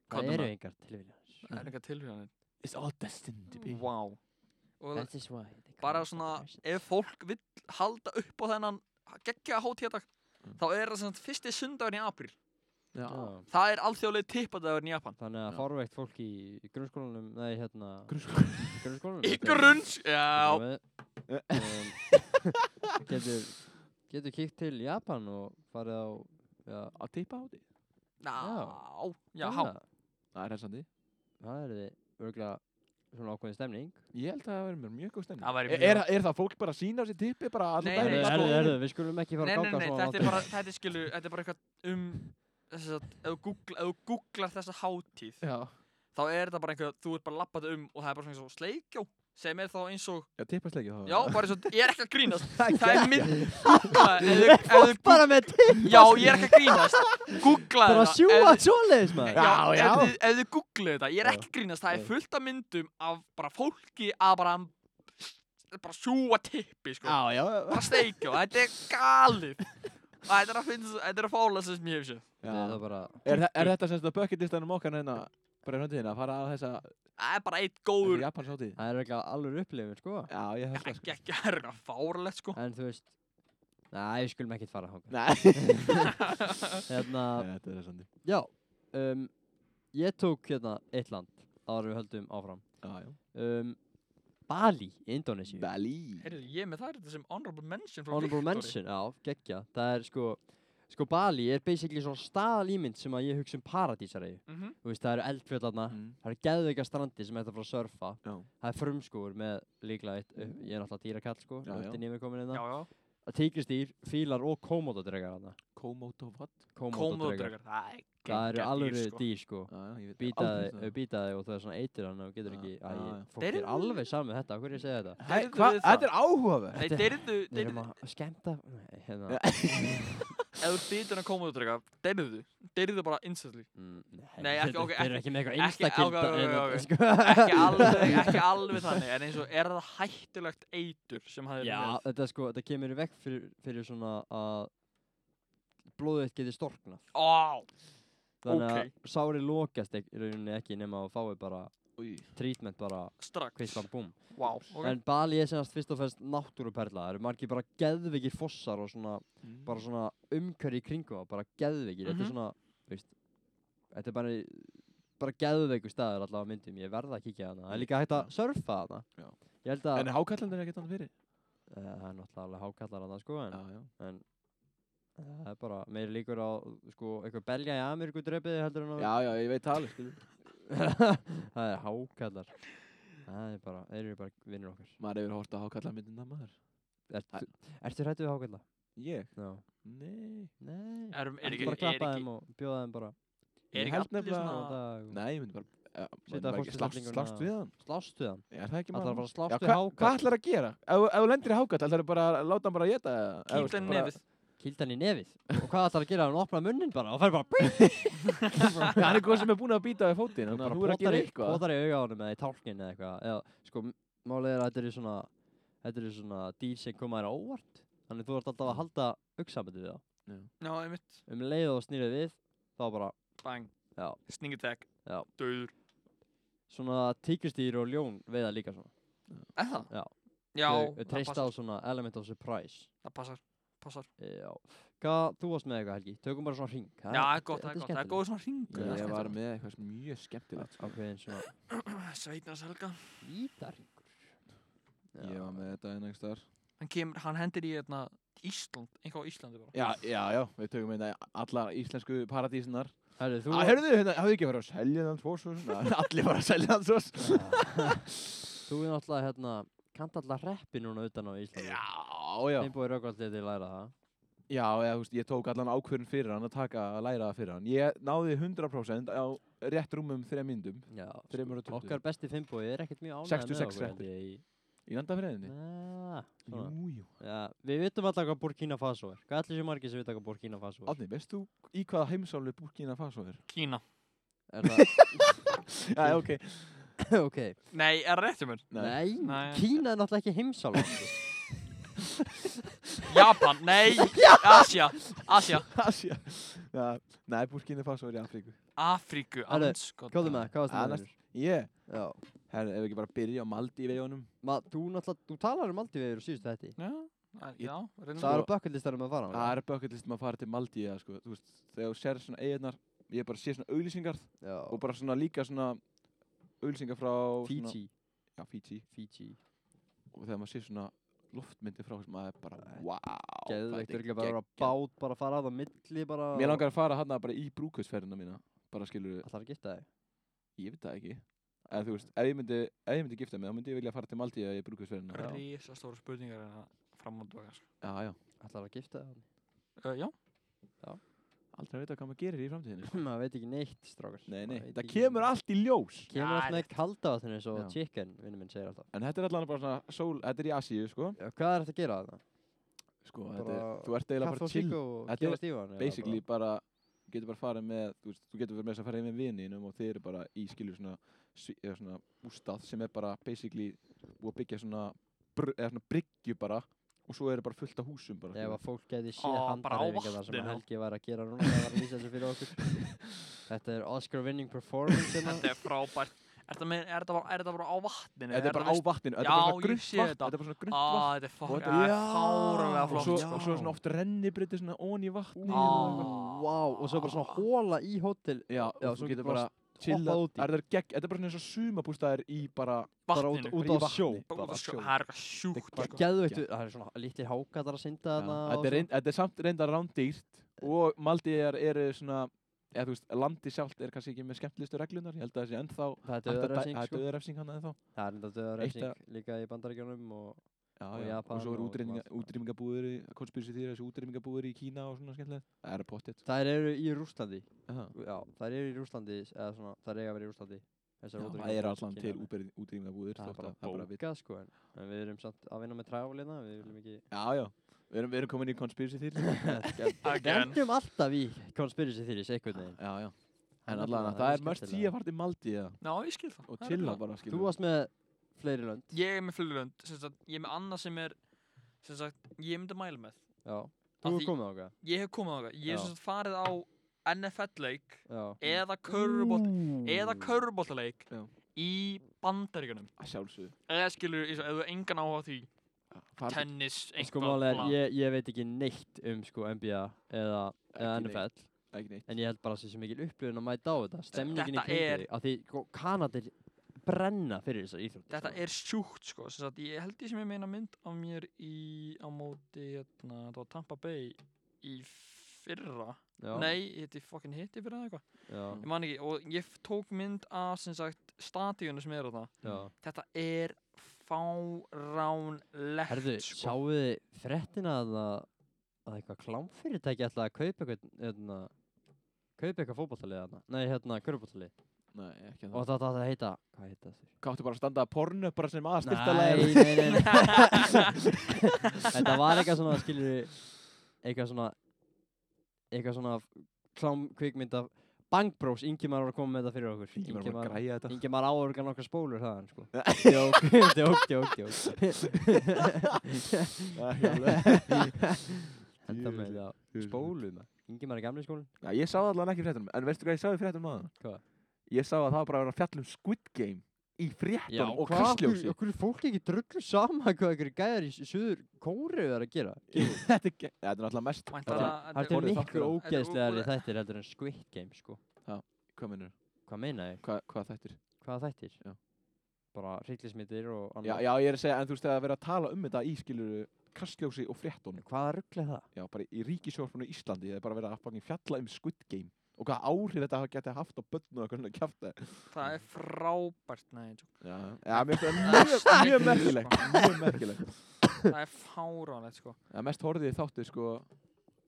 [SPEAKER 3] Hvað
[SPEAKER 2] það
[SPEAKER 3] er
[SPEAKER 2] eru
[SPEAKER 3] það?
[SPEAKER 2] engar tilviljanir
[SPEAKER 3] það er eitthvað tilhjóðanir
[SPEAKER 4] It's all destined to be
[SPEAKER 3] Vá og
[SPEAKER 2] That is why they call
[SPEAKER 3] bara
[SPEAKER 2] it
[SPEAKER 3] svona
[SPEAKER 2] depression.
[SPEAKER 3] ef fólk vill halda upp á þennan geggja hátíðadag
[SPEAKER 4] Mm.
[SPEAKER 3] þá er það sem sagt fyrsti sundagurinn í april
[SPEAKER 4] Já.
[SPEAKER 2] Já.
[SPEAKER 3] það er alþjóðlega tippadagurinn í Japan
[SPEAKER 2] Þannig að
[SPEAKER 4] Já.
[SPEAKER 2] fárveikt fólk í grunnskólanum, nei hérna,
[SPEAKER 4] Grunnskóla.
[SPEAKER 2] grunnskólanum.
[SPEAKER 3] í grunns já
[SPEAKER 2] Já. Um, getur, getur kíkt til Japan og farið á, já,
[SPEAKER 4] Að tippa á því
[SPEAKER 3] já já
[SPEAKER 2] það-
[SPEAKER 4] Það er helsandi
[SPEAKER 2] Það er þið örgulega svona ákveðin stemning.
[SPEAKER 4] Ég held að það verður mér mjög góð stemning
[SPEAKER 3] Það væri
[SPEAKER 4] Er-
[SPEAKER 3] mjög-
[SPEAKER 4] er, er það fólk bara að sína á sér tippi bara allan
[SPEAKER 3] Nei,
[SPEAKER 4] daginn?
[SPEAKER 3] nei,
[SPEAKER 2] Erðu,
[SPEAKER 4] Sko-
[SPEAKER 2] erðu, erðu, við skulum ekki fara að
[SPEAKER 3] nei nei
[SPEAKER 2] ganga
[SPEAKER 3] nei
[SPEAKER 2] svona
[SPEAKER 3] þetta er
[SPEAKER 2] langt.
[SPEAKER 3] bara þetta er skilu þetta er bara eitthvað um þess að ef þú googla- ef þú googlar þessa hátíð
[SPEAKER 4] Já,
[SPEAKER 3] þá er þetta bara einhver þú ert bara lappað um og það er bara svona eins og sleikjó sem er þá eins og
[SPEAKER 4] já tippa sleikið þá
[SPEAKER 3] já bara eins og ég er ekki að grínast
[SPEAKER 2] Það
[SPEAKER 3] það er mynd Googlaðu- ef þú- ef þú
[SPEAKER 2] bara með til
[SPEAKER 3] Já, ég er ekki að grínast Googla
[SPEAKER 2] bara að sjúa svoleiðis maður.
[SPEAKER 3] Já, já
[SPEAKER 4] Já, já.
[SPEAKER 3] Ef þið- ef þið googlaðu þetta, ég er
[SPEAKER 2] Já.
[SPEAKER 3] ekki að grínast Það er
[SPEAKER 2] Já.
[SPEAKER 3] fullt af myndum af bara fólki að bara bara sjúa tippi, sko
[SPEAKER 4] já,
[SPEAKER 3] bara steikja og þetta er galið og þetta er að finna, þetta er að fála sem ég hef séð
[SPEAKER 2] Þetta er það bara,
[SPEAKER 4] Er, þa- er þetta sem þetta bucketlistanum okkar hérna bara í röndiðina að fara að þessa
[SPEAKER 3] Það er bara eitt góður
[SPEAKER 4] Japans hátíð?
[SPEAKER 2] það er örgulega alveg upplifin sko.
[SPEAKER 4] Já, ég held það
[SPEAKER 3] ekki,
[SPEAKER 4] sko
[SPEAKER 3] ekki, það er eitthvað fárlegt, sko
[SPEAKER 2] En þú veist, næ, við skulum ekki fara hanga.
[SPEAKER 4] Nei, Nei,
[SPEAKER 2] Hérna,
[SPEAKER 4] þetta er helsandi
[SPEAKER 2] já, um, ég tók hérna eitt land áður en við höldum áfram.
[SPEAKER 4] Já, já
[SPEAKER 2] Um, Bali í Indonésiu.
[SPEAKER 4] Bali
[SPEAKER 3] Heyrðu, ég með það er þetta sem honorable mention frá
[SPEAKER 2] Honorable
[SPEAKER 3] Victory.
[SPEAKER 2] mention, já, geggja. Það er sko, sko Bali er basically svona staðalímynd sem að ég hugsa um paradísareiðu.
[SPEAKER 3] Mhm.
[SPEAKER 2] Þú veist, það eru eldfjöldna,
[SPEAKER 4] Mm.
[SPEAKER 2] það eru geðveika strandi sem þetta frá að surfa.
[SPEAKER 4] Já,
[SPEAKER 2] Það er frumskóur með líklega eitt, mm. ég er náttúrulega dýrakall sko,
[SPEAKER 4] Já, já.
[SPEAKER 2] öftin ég með komin
[SPEAKER 3] Já,
[SPEAKER 2] innan.
[SPEAKER 3] já,
[SPEAKER 2] Tíkristýr, fílar og komótodregar hana.
[SPEAKER 4] Komodo what?
[SPEAKER 2] Komótodregar.
[SPEAKER 3] komóðdregar Það er
[SPEAKER 2] Það eru alveg
[SPEAKER 3] geggjað dýr, sko.
[SPEAKER 2] dýr sko.
[SPEAKER 4] Já, já, ég veit aldrei
[SPEAKER 2] Býtaði,
[SPEAKER 4] það.
[SPEAKER 2] býtaði og það er svona eitir hann og getur
[SPEAKER 4] Já,
[SPEAKER 2] ekki,
[SPEAKER 4] já,
[SPEAKER 2] æ,
[SPEAKER 4] já.
[SPEAKER 2] fólk
[SPEAKER 3] Þeir
[SPEAKER 2] er
[SPEAKER 3] eru-
[SPEAKER 2] alveg samið þetta, af hverju segja þetta?
[SPEAKER 4] Hæ,
[SPEAKER 3] Heyrðu
[SPEAKER 4] hvað?
[SPEAKER 3] þið það?
[SPEAKER 4] Þetta er áhugaverð
[SPEAKER 3] Nei,
[SPEAKER 2] Þetta-
[SPEAKER 3] deyrðu,
[SPEAKER 2] Við
[SPEAKER 3] deyrðu
[SPEAKER 2] erum að skemmta, nei, hérna,
[SPEAKER 3] ef þú býtur að koma út drega, deyrðu, deyrðu bara instantly.
[SPEAKER 2] mm,
[SPEAKER 3] Nei, ekki- ok,
[SPEAKER 2] þeir eru ekki með eitthvað
[SPEAKER 3] ekki- ok, ok, ok, ok.
[SPEAKER 2] einstakilda,
[SPEAKER 3] Ekki alveg, ekki alveg þannig, en eins og er það hættulegt eitur sem hafið
[SPEAKER 2] Já,
[SPEAKER 3] með.
[SPEAKER 2] þetta sko, þetta kemur í vekk fyrir, fyrir svona að blóðið þitt geti storknað.
[SPEAKER 3] Ó,
[SPEAKER 2] Þannig
[SPEAKER 3] Ókei.
[SPEAKER 2] að sári lokast ekki, rauninni ekki nema að fái bara
[SPEAKER 4] Új,
[SPEAKER 2] treatment bara
[SPEAKER 3] strax.
[SPEAKER 2] kvislan búm.
[SPEAKER 3] Vá, ok.
[SPEAKER 2] En Bali er semast fyrst og fremst náttúruperla. Það eru margir bara geðveikir fossar og svona,
[SPEAKER 4] Mhm. Mm.
[SPEAKER 2] bara svona umhverfi í kringum það, bara geðveikir. Þetta er
[SPEAKER 3] Mhm.
[SPEAKER 2] svona, veist, þetta er bara, bara geðveiku staður allavega á myndum. Ég verða að kíkja hana. Það er líka hægt að surfa hana.
[SPEAKER 4] Já.
[SPEAKER 2] Ég held að,
[SPEAKER 4] En hákallandir er ekki þannig fyrir
[SPEAKER 2] eh, það er náttúrulega alveg hákallar hana sko, en
[SPEAKER 4] Já, já
[SPEAKER 2] en eh, það er bara meiri líkur á sko eitthvað belja í Ameríku drefiði heldur en á
[SPEAKER 4] Já, já, ég veit talið, skilur
[SPEAKER 2] það er hákallar það er bara, þeir eru bara vinnir okkar
[SPEAKER 4] Maður hefur hort á hákallamyndina maður
[SPEAKER 2] Ert, Ertu hrættu við hákalla?
[SPEAKER 4] Ég?
[SPEAKER 2] Já
[SPEAKER 4] Nei
[SPEAKER 2] Nei
[SPEAKER 3] Er, er,
[SPEAKER 2] Ertu
[SPEAKER 3] ekki,
[SPEAKER 2] bara að klappa
[SPEAKER 3] er, ekki, Ah.
[SPEAKER 2] þeim og bjóða þeim bara
[SPEAKER 3] er
[SPEAKER 4] Ég
[SPEAKER 3] ekki
[SPEAKER 4] held
[SPEAKER 3] allir
[SPEAKER 4] nefnilega-
[SPEAKER 2] góðan
[SPEAKER 3] svona,
[SPEAKER 2] dag og
[SPEAKER 4] Nei, ég myndi bara ja,
[SPEAKER 2] Setja
[SPEAKER 4] maður ekki- slast,
[SPEAKER 2] fólksflutninguna-
[SPEAKER 4] slast við hann
[SPEAKER 2] Slást við hann?
[SPEAKER 4] Er það ekki
[SPEAKER 2] Það er bara að
[SPEAKER 4] Já,
[SPEAKER 2] slást við
[SPEAKER 4] hva, hvað
[SPEAKER 2] hákall
[SPEAKER 4] ætlar að gera? Ef, ef þú lendir í hákall, ætlar þú bara að láta hann bara að geta sko,
[SPEAKER 3] kýta henni nefið.
[SPEAKER 2] Kýldan í nefið Og hvað ætlar að gera? Hann opna munnin bara og fer bara
[SPEAKER 4] Hann er góð sem er búin að býta á fótinn, þannig að þú er sko. að gera eitthvað
[SPEAKER 2] Bóðar í auga á honum eða í tálkin eða eitthvað Eða sko, m- málið er að þetta eru svona Þetta eru svona dýr sem koma þér á óvart Þannig þú ert alltaf að halda augsamöndu við þá
[SPEAKER 3] Já, einmitt.
[SPEAKER 2] um leið og snýrið við þá bara
[SPEAKER 3] Bang.
[SPEAKER 2] Já.
[SPEAKER 3] Sningitek.
[SPEAKER 2] Já.
[SPEAKER 3] Dauður.
[SPEAKER 2] svona tíkristýr og ljón veiða líka svona
[SPEAKER 3] Er það?
[SPEAKER 2] Já.
[SPEAKER 3] Já,
[SPEAKER 2] Þau- þau
[SPEAKER 3] það
[SPEAKER 2] treysta á
[SPEAKER 3] passar.
[SPEAKER 2] svona element of surprise
[SPEAKER 3] Það passar. Passar.
[SPEAKER 2] já hvað þú varst með eitthvað Helgi tökum bara svona ring
[SPEAKER 3] Já, það er gott, það er gott. Það er góð svona
[SPEAKER 2] Ég
[SPEAKER 3] ringur.
[SPEAKER 4] Ég
[SPEAKER 2] var
[SPEAKER 4] var með eitthvað mjög skemmtilegt
[SPEAKER 2] ákveðin svona
[SPEAKER 3] Sveitnars Helga.
[SPEAKER 2] vítaringur
[SPEAKER 4] Ég var með þetta einhvers þar
[SPEAKER 3] Hann kemur, hann hendir í hérna Ísland, einhvað á Íslandi bara.
[SPEAKER 4] Já, já, já, við tökum einna allar íslensku paradísinar
[SPEAKER 2] herru þú
[SPEAKER 4] ah, Hörðu, hérna, hafðu ekki verið að selja þann svo svo Allir var að selja þann svo svo
[SPEAKER 2] Já. þú er náttúrulega hérna kannt alltaf reppi núna utan á Íslandi
[SPEAKER 4] Já, já,
[SPEAKER 2] þeim búið raukvaldið til að læra það
[SPEAKER 4] já, eða, þú veist, ég tók allan ákvörðin fyrir hann að taka að læra það fyrir hann Ég náði 100% á rétt rúmum þreja myndum
[SPEAKER 2] já
[SPEAKER 4] Þremur og
[SPEAKER 2] sko,
[SPEAKER 4] tuttugu.
[SPEAKER 2] okkar besti fimmbogi er ekkert mjög ánægð
[SPEAKER 4] 66 reppir. Í landafriðinni
[SPEAKER 2] reppi
[SPEAKER 4] Jú, jú
[SPEAKER 2] Já, við vitum alltaf hvað Burkina Faso er. Hvað ætlir sér margir sem vita hvað Burkina Faso er?
[SPEAKER 4] Átni, veist þú í hvaða heimsálu Burkina Faso er?
[SPEAKER 3] Kína.
[SPEAKER 2] Er það,
[SPEAKER 4] Já, ok.
[SPEAKER 2] ok.
[SPEAKER 3] Nei, er það réttum mér?
[SPEAKER 2] Nei,
[SPEAKER 3] Nei.
[SPEAKER 2] Kína er náttúrulega ekki heimsálfa.
[SPEAKER 3] Japan, nei, Asia, Asia,
[SPEAKER 4] Asja. Nei, Burkina Faso er í Afríku.
[SPEAKER 3] Afríku,
[SPEAKER 2] Herru,
[SPEAKER 3] anskot
[SPEAKER 2] Kjóðu með, það, hvað varst
[SPEAKER 4] Ah,
[SPEAKER 2] það með?
[SPEAKER 4] næst- Ég,
[SPEAKER 2] Já.
[SPEAKER 4] herri, ef við ekki bara byrja á Maldi í vegunum
[SPEAKER 2] Ma, þú náttúrulega, þú talar um Maldivíður og síðustu þetta.
[SPEAKER 4] Já
[SPEAKER 3] Æ,
[SPEAKER 4] Ég-
[SPEAKER 3] Já, reynum
[SPEAKER 2] Það
[SPEAKER 3] við
[SPEAKER 2] eru bökkullistarum að fara á.
[SPEAKER 4] Það er bökkulist maður að fara til Maldi eða, sko, þú veist, Þegar þú sér svona eiginar Ég bara sé svona auglýsingar
[SPEAKER 2] Já.
[SPEAKER 4] Og bara svona líka svona auglýsingar frá svona-
[SPEAKER 2] Fiji.
[SPEAKER 4] Já, Fiji
[SPEAKER 2] Fiji.
[SPEAKER 4] Og þegar maður sé svona loftmyndi frá þessum maður er bara Vá þetta er
[SPEAKER 2] Geðveikt, örgulega bara að vera á
[SPEAKER 4] geggjað."
[SPEAKER 2] bát, bara að fara að það milli, bara.
[SPEAKER 4] Mér langar að fara hann bara í brúkausferðina mína Bara skilur
[SPEAKER 2] Það að gifta þig.
[SPEAKER 4] Ég veit það ekki En þú veist, ef ég myndi, ef ég myndi gifta mig, þá myndi ég vilja fara til Maldíja í brúkvæðsverðina.
[SPEAKER 3] Rísa stóra spurningar en að fram og tilbaka sko.
[SPEAKER 4] Já, já.
[SPEAKER 2] Það að gifta þig.
[SPEAKER 3] uh, Já,
[SPEAKER 4] Aldrei að vita hvað maður gerir í framtíðinni.
[SPEAKER 2] maður veit ekki neitt, strákar.
[SPEAKER 4] Nei, nei.
[SPEAKER 2] Maður veit
[SPEAKER 4] Það
[SPEAKER 2] ekki-
[SPEAKER 4] kemur allt í ljós.
[SPEAKER 2] Kemur
[SPEAKER 3] Já,
[SPEAKER 2] allt með kalda á þenni svo
[SPEAKER 4] Já.
[SPEAKER 2] chicken, vinnum minn segir alltaf.
[SPEAKER 4] En þetta er allan bara svona sól, þetta er í Asíu, sko.
[SPEAKER 2] Já, hvað er þetta að gera þarna?
[SPEAKER 4] Sko,
[SPEAKER 2] Bara
[SPEAKER 4] þetta er, þú ert eiginlega
[SPEAKER 2] Kaffe
[SPEAKER 4] bara
[SPEAKER 2] og
[SPEAKER 4] chill.
[SPEAKER 2] síkó og
[SPEAKER 4] Þetta er
[SPEAKER 2] gefa stífan? eða
[SPEAKER 4] Basically bara, þú getur bara farið með, þú veist, þú getur verið með þess að fara heim með vininum og þeir eru bara í skilju svona, svi- eða svona bústað sem er bara basically búið að byggja svona, br eða svona bryggju bara og svo eru bara fullt af húsum bara.
[SPEAKER 2] bara- Ef
[SPEAKER 4] skilurðu.
[SPEAKER 2] að fólk geti séð
[SPEAKER 3] Ó, bara á
[SPEAKER 2] handareyfingar þar sem
[SPEAKER 3] vatninu.
[SPEAKER 2] Helgi var að gera núna, það var að lýsa þessu fyrir okkur. Þetta er Oscar winning performance hérna.
[SPEAKER 3] þetta er frábært Er þetta með- er þetta bara, er þetta bara á vatninu?
[SPEAKER 4] Þetta er bara á vatninu, þetta
[SPEAKER 3] Já,
[SPEAKER 4] er bara svona
[SPEAKER 3] ég
[SPEAKER 4] grunnt
[SPEAKER 3] sé
[SPEAKER 4] vatn,
[SPEAKER 3] þetta.
[SPEAKER 4] þetta Ah, er bara svona grunnt vatn.
[SPEAKER 3] Á, þetta er
[SPEAKER 4] Og
[SPEAKER 3] fokk,
[SPEAKER 4] þetta-
[SPEAKER 3] það er
[SPEAKER 4] Já.
[SPEAKER 3] fáralega
[SPEAKER 4] og
[SPEAKER 3] flott sko.
[SPEAKER 4] svo,
[SPEAKER 2] Já.
[SPEAKER 4] og svo er svona oft rennibryti svona ón í vatni
[SPEAKER 3] Á.
[SPEAKER 2] Wow, og svo bara svona hóla í hótel.
[SPEAKER 4] já, og
[SPEAKER 2] Já, svo
[SPEAKER 4] þú getur
[SPEAKER 2] getur
[SPEAKER 4] bara
[SPEAKER 2] bara
[SPEAKER 4] chilla
[SPEAKER 2] hoppað út í.
[SPEAKER 4] er það gegg, þetta er bara svona eins og sumabústaðir í bara
[SPEAKER 2] Bara út,
[SPEAKER 3] Vatninu,
[SPEAKER 2] út
[SPEAKER 4] Bara í
[SPEAKER 2] á sjó.
[SPEAKER 4] vatni.
[SPEAKER 3] Bara út á
[SPEAKER 4] bara
[SPEAKER 3] sjó. það
[SPEAKER 4] sjó.
[SPEAKER 3] er eitthvað sjúkt
[SPEAKER 4] Þetta
[SPEAKER 3] sko.
[SPEAKER 2] Geðveikt, það er svona litlir hákatar að synda
[SPEAKER 4] Já,
[SPEAKER 2] þarna. og
[SPEAKER 4] þetta er,
[SPEAKER 2] svona.
[SPEAKER 4] reynd, þetta er samt reyndar rándýrt og Maldíjar eru svona eða þú veist, landi sjálft er kannski ekki með skemmtlistu reglunar, ég held að það sé
[SPEAKER 2] Það
[SPEAKER 4] ennþá
[SPEAKER 2] er
[SPEAKER 4] hægt að dæ-
[SPEAKER 2] döðarefsing,
[SPEAKER 4] það er
[SPEAKER 2] sko.
[SPEAKER 4] döðarefsing hann ennþá
[SPEAKER 2] Það er enda
[SPEAKER 4] Eitt
[SPEAKER 2] döðarefsing
[SPEAKER 4] að-
[SPEAKER 2] líka í bandaríkjunum og
[SPEAKER 4] já,
[SPEAKER 2] Og
[SPEAKER 4] já.
[SPEAKER 2] Japan
[SPEAKER 4] og svo eru
[SPEAKER 2] og
[SPEAKER 4] útrýminga,
[SPEAKER 2] allt.
[SPEAKER 4] útrýmingabúður í konspirsi þýra, þessu útrýmingabúður í Kína og svona skemmtilegt, það er pottet
[SPEAKER 2] þær eru í Rúslandi.
[SPEAKER 4] það
[SPEAKER 2] Já, þær eru í Rúslandi, eða svona, þær eiga að vera í Rúslandi. Þessar útrýmingar
[SPEAKER 4] er
[SPEAKER 2] í
[SPEAKER 4] allan til
[SPEAKER 2] Kína.
[SPEAKER 4] útbyrð- útrýmingabúðir
[SPEAKER 2] Það er
[SPEAKER 4] þótt
[SPEAKER 2] bara
[SPEAKER 4] að- það er bara vill.
[SPEAKER 2] bókað, sko, en, en við erum samt að vinna með tráflina, við viljum ekki...
[SPEAKER 4] já, já, við erum, við erum komin í konspirsi þýra
[SPEAKER 2] Við
[SPEAKER 3] Again.
[SPEAKER 2] endum alltaf í conspiracy theories, einhvern veginn.
[SPEAKER 4] Já, já. En
[SPEAKER 2] En
[SPEAKER 4] allavega,
[SPEAKER 2] allavega,
[SPEAKER 4] það
[SPEAKER 2] þetta
[SPEAKER 4] er
[SPEAKER 2] er
[SPEAKER 4] mörg
[SPEAKER 2] skemmtilega.
[SPEAKER 4] tíu að fara til Maldíja
[SPEAKER 3] Já, ég skil það
[SPEAKER 4] og
[SPEAKER 3] Það er
[SPEAKER 4] chilla
[SPEAKER 3] það.
[SPEAKER 4] bara, skilur.
[SPEAKER 2] Þú varst með fleiri lönd.
[SPEAKER 3] Ég er með flugurlönd, sem sagt, ég er með annað sem er sem sagt, ég myndi að mæla með
[SPEAKER 2] Já.
[SPEAKER 3] Af
[SPEAKER 2] Þú
[SPEAKER 3] því-
[SPEAKER 2] hefur komið á okkar.
[SPEAKER 3] Ég hef komið á það, ég
[SPEAKER 2] Já.
[SPEAKER 3] hef sem sagt farið á NFL-leik
[SPEAKER 2] Já.
[SPEAKER 4] Mm.
[SPEAKER 3] eða körfubolt
[SPEAKER 2] Hmm.
[SPEAKER 3] eða körfuboltaleik
[SPEAKER 4] Já.
[SPEAKER 3] í bandaríkunum
[SPEAKER 4] Að sjálfsögðu.
[SPEAKER 3] eða skilur, eða þú hefur engan áhuga á því
[SPEAKER 4] Fara til-
[SPEAKER 3] tennis,
[SPEAKER 2] En Sko
[SPEAKER 3] eitthvað
[SPEAKER 2] málega er,
[SPEAKER 3] bla.
[SPEAKER 2] ég, ég veit ekki neitt um sko NBA eða, eða
[SPEAKER 4] Ekki neitt.
[SPEAKER 2] NFL,
[SPEAKER 4] Ekki neitt.
[SPEAKER 2] en ég held bara að sé svo mikil upplifun að mæta á þetta, stemningin í
[SPEAKER 3] Þetta er-
[SPEAKER 2] kringu, að því sko, Kanadir brenna fyrir þessar íþróttir.
[SPEAKER 3] Þetta
[SPEAKER 2] sko.
[SPEAKER 3] er sjúkt sko, sem sagt, ég held ég sem ég meina mynd af mér í, á móti, hérna, það var Tampa Bay í fyrra,
[SPEAKER 2] Já.
[SPEAKER 3] nei, hitti, fucking hitti fyrra eða eitthvað,
[SPEAKER 2] Já.
[SPEAKER 3] ég man ekki, og ég f- tók mynd af, sem sagt, statíunum sem er á það,
[SPEAKER 2] Já.
[SPEAKER 3] þetta er fáránlegt
[SPEAKER 2] Herðu,
[SPEAKER 3] sko.
[SPEAKER 2] sjáu þið frettina að það að eitthvað klámfyrirtæki ætla að kaupa eitthvað, hérna, kaupa eitthvað fótballtalið hérna, nei, hérna, körfballtalið
[SPEAKER 4] Nei, ekki
[SPEAKER 2] og
[SPEAKER 4] það.
[SPEAKER 2] það það heita, hvað heita þessu?
[SPEAKER 4] Káttu bara að standa að pornu bara sem aðstyrtalega.
[SPEAKER 2] Nei, nei, nei, nei. Þetta var eitthvað svona, skilur eitthvað svona eitthvað svona klámkvikmynda Bang Bros, Ingimar var að koma með þetta fyrir okkur
[SPEAKER 4] Ég var bara að græja þetta.
[SPEAKER 2] Ingimar áurgan okkar spólur þaðan, sko Djók, djók, djók, djók
[SPEAKER 4] Ekki alveg.
[SPEAKER 2] Enda með
[SPEAKER 4] Djöfull.
[SPEAKER 2] það spólum Ingimar er gamli í skólinn
[SPEAKER 4] Já, ég sá allan ekki í fréttunum, en veistu hvað ég sá í fréttunum aðan?
[SPEAKER 2] Hvað?
[SPEAKER 4] Ég sá að það var bara að vera að fjalla um Squid Game í fréttunum og
[SPEAKER 2] Kristljósi
[SPEAKER 4] kristljósi.
[SPEAKER 2] Okkur er fólk ekki drullu sama hvað ykkur gæðar í s- suður kóru er að gera
[SPEAKER 4] Þetta er ge- Þetta er náttúrulega mest.
[SPEAKER 3] Væntanlega-
[SPEAKER 2] Þetta er
[SPEAKER 4] Horfðu
[SPEAKER 2] miklu
[SPEAKER 4] þáttur á-
[SPEAKER 2] ógeðslegar í þættir heldur en Squid Game sko
[SPEAKER 4] Hvað minnur?
[SPEAKER 2] Hvað meina ég?
[SPEAKER 4] Hvað, hvað þættir?
[SPEAKER 2] Hvað þættir?
[SPEAKER 4] Já.
[SPEAKER 2] Bara hryllismitir og
[SPEAKER 4] Já,
[SPEAKER 2] annað
[SPEAKER 4] já, ég er að segja, en þú veist, þegar að vera að tala um þetta í skiluru kristljósi og fréttunum.
[SPEAKER 2] Hvaða rugl er það?
[SPEAKER 4] já, bara í ríkisjórfunni Íslandi það er bara verið að fucking fjalla um Squid Game og hvað áhrif þetta geti haft á börn og eitthvað kjafta
[SPEAKER 3] það er frábært, nei, ég tjók.
[SPEAKER 4] já, já mér finnst það mjög, mjög merkilegt mjög merkilegt
[SPEAKER 3] það er fáránlegt sko.
[SPEAKER 4] já, mest horfið ég þáttið sko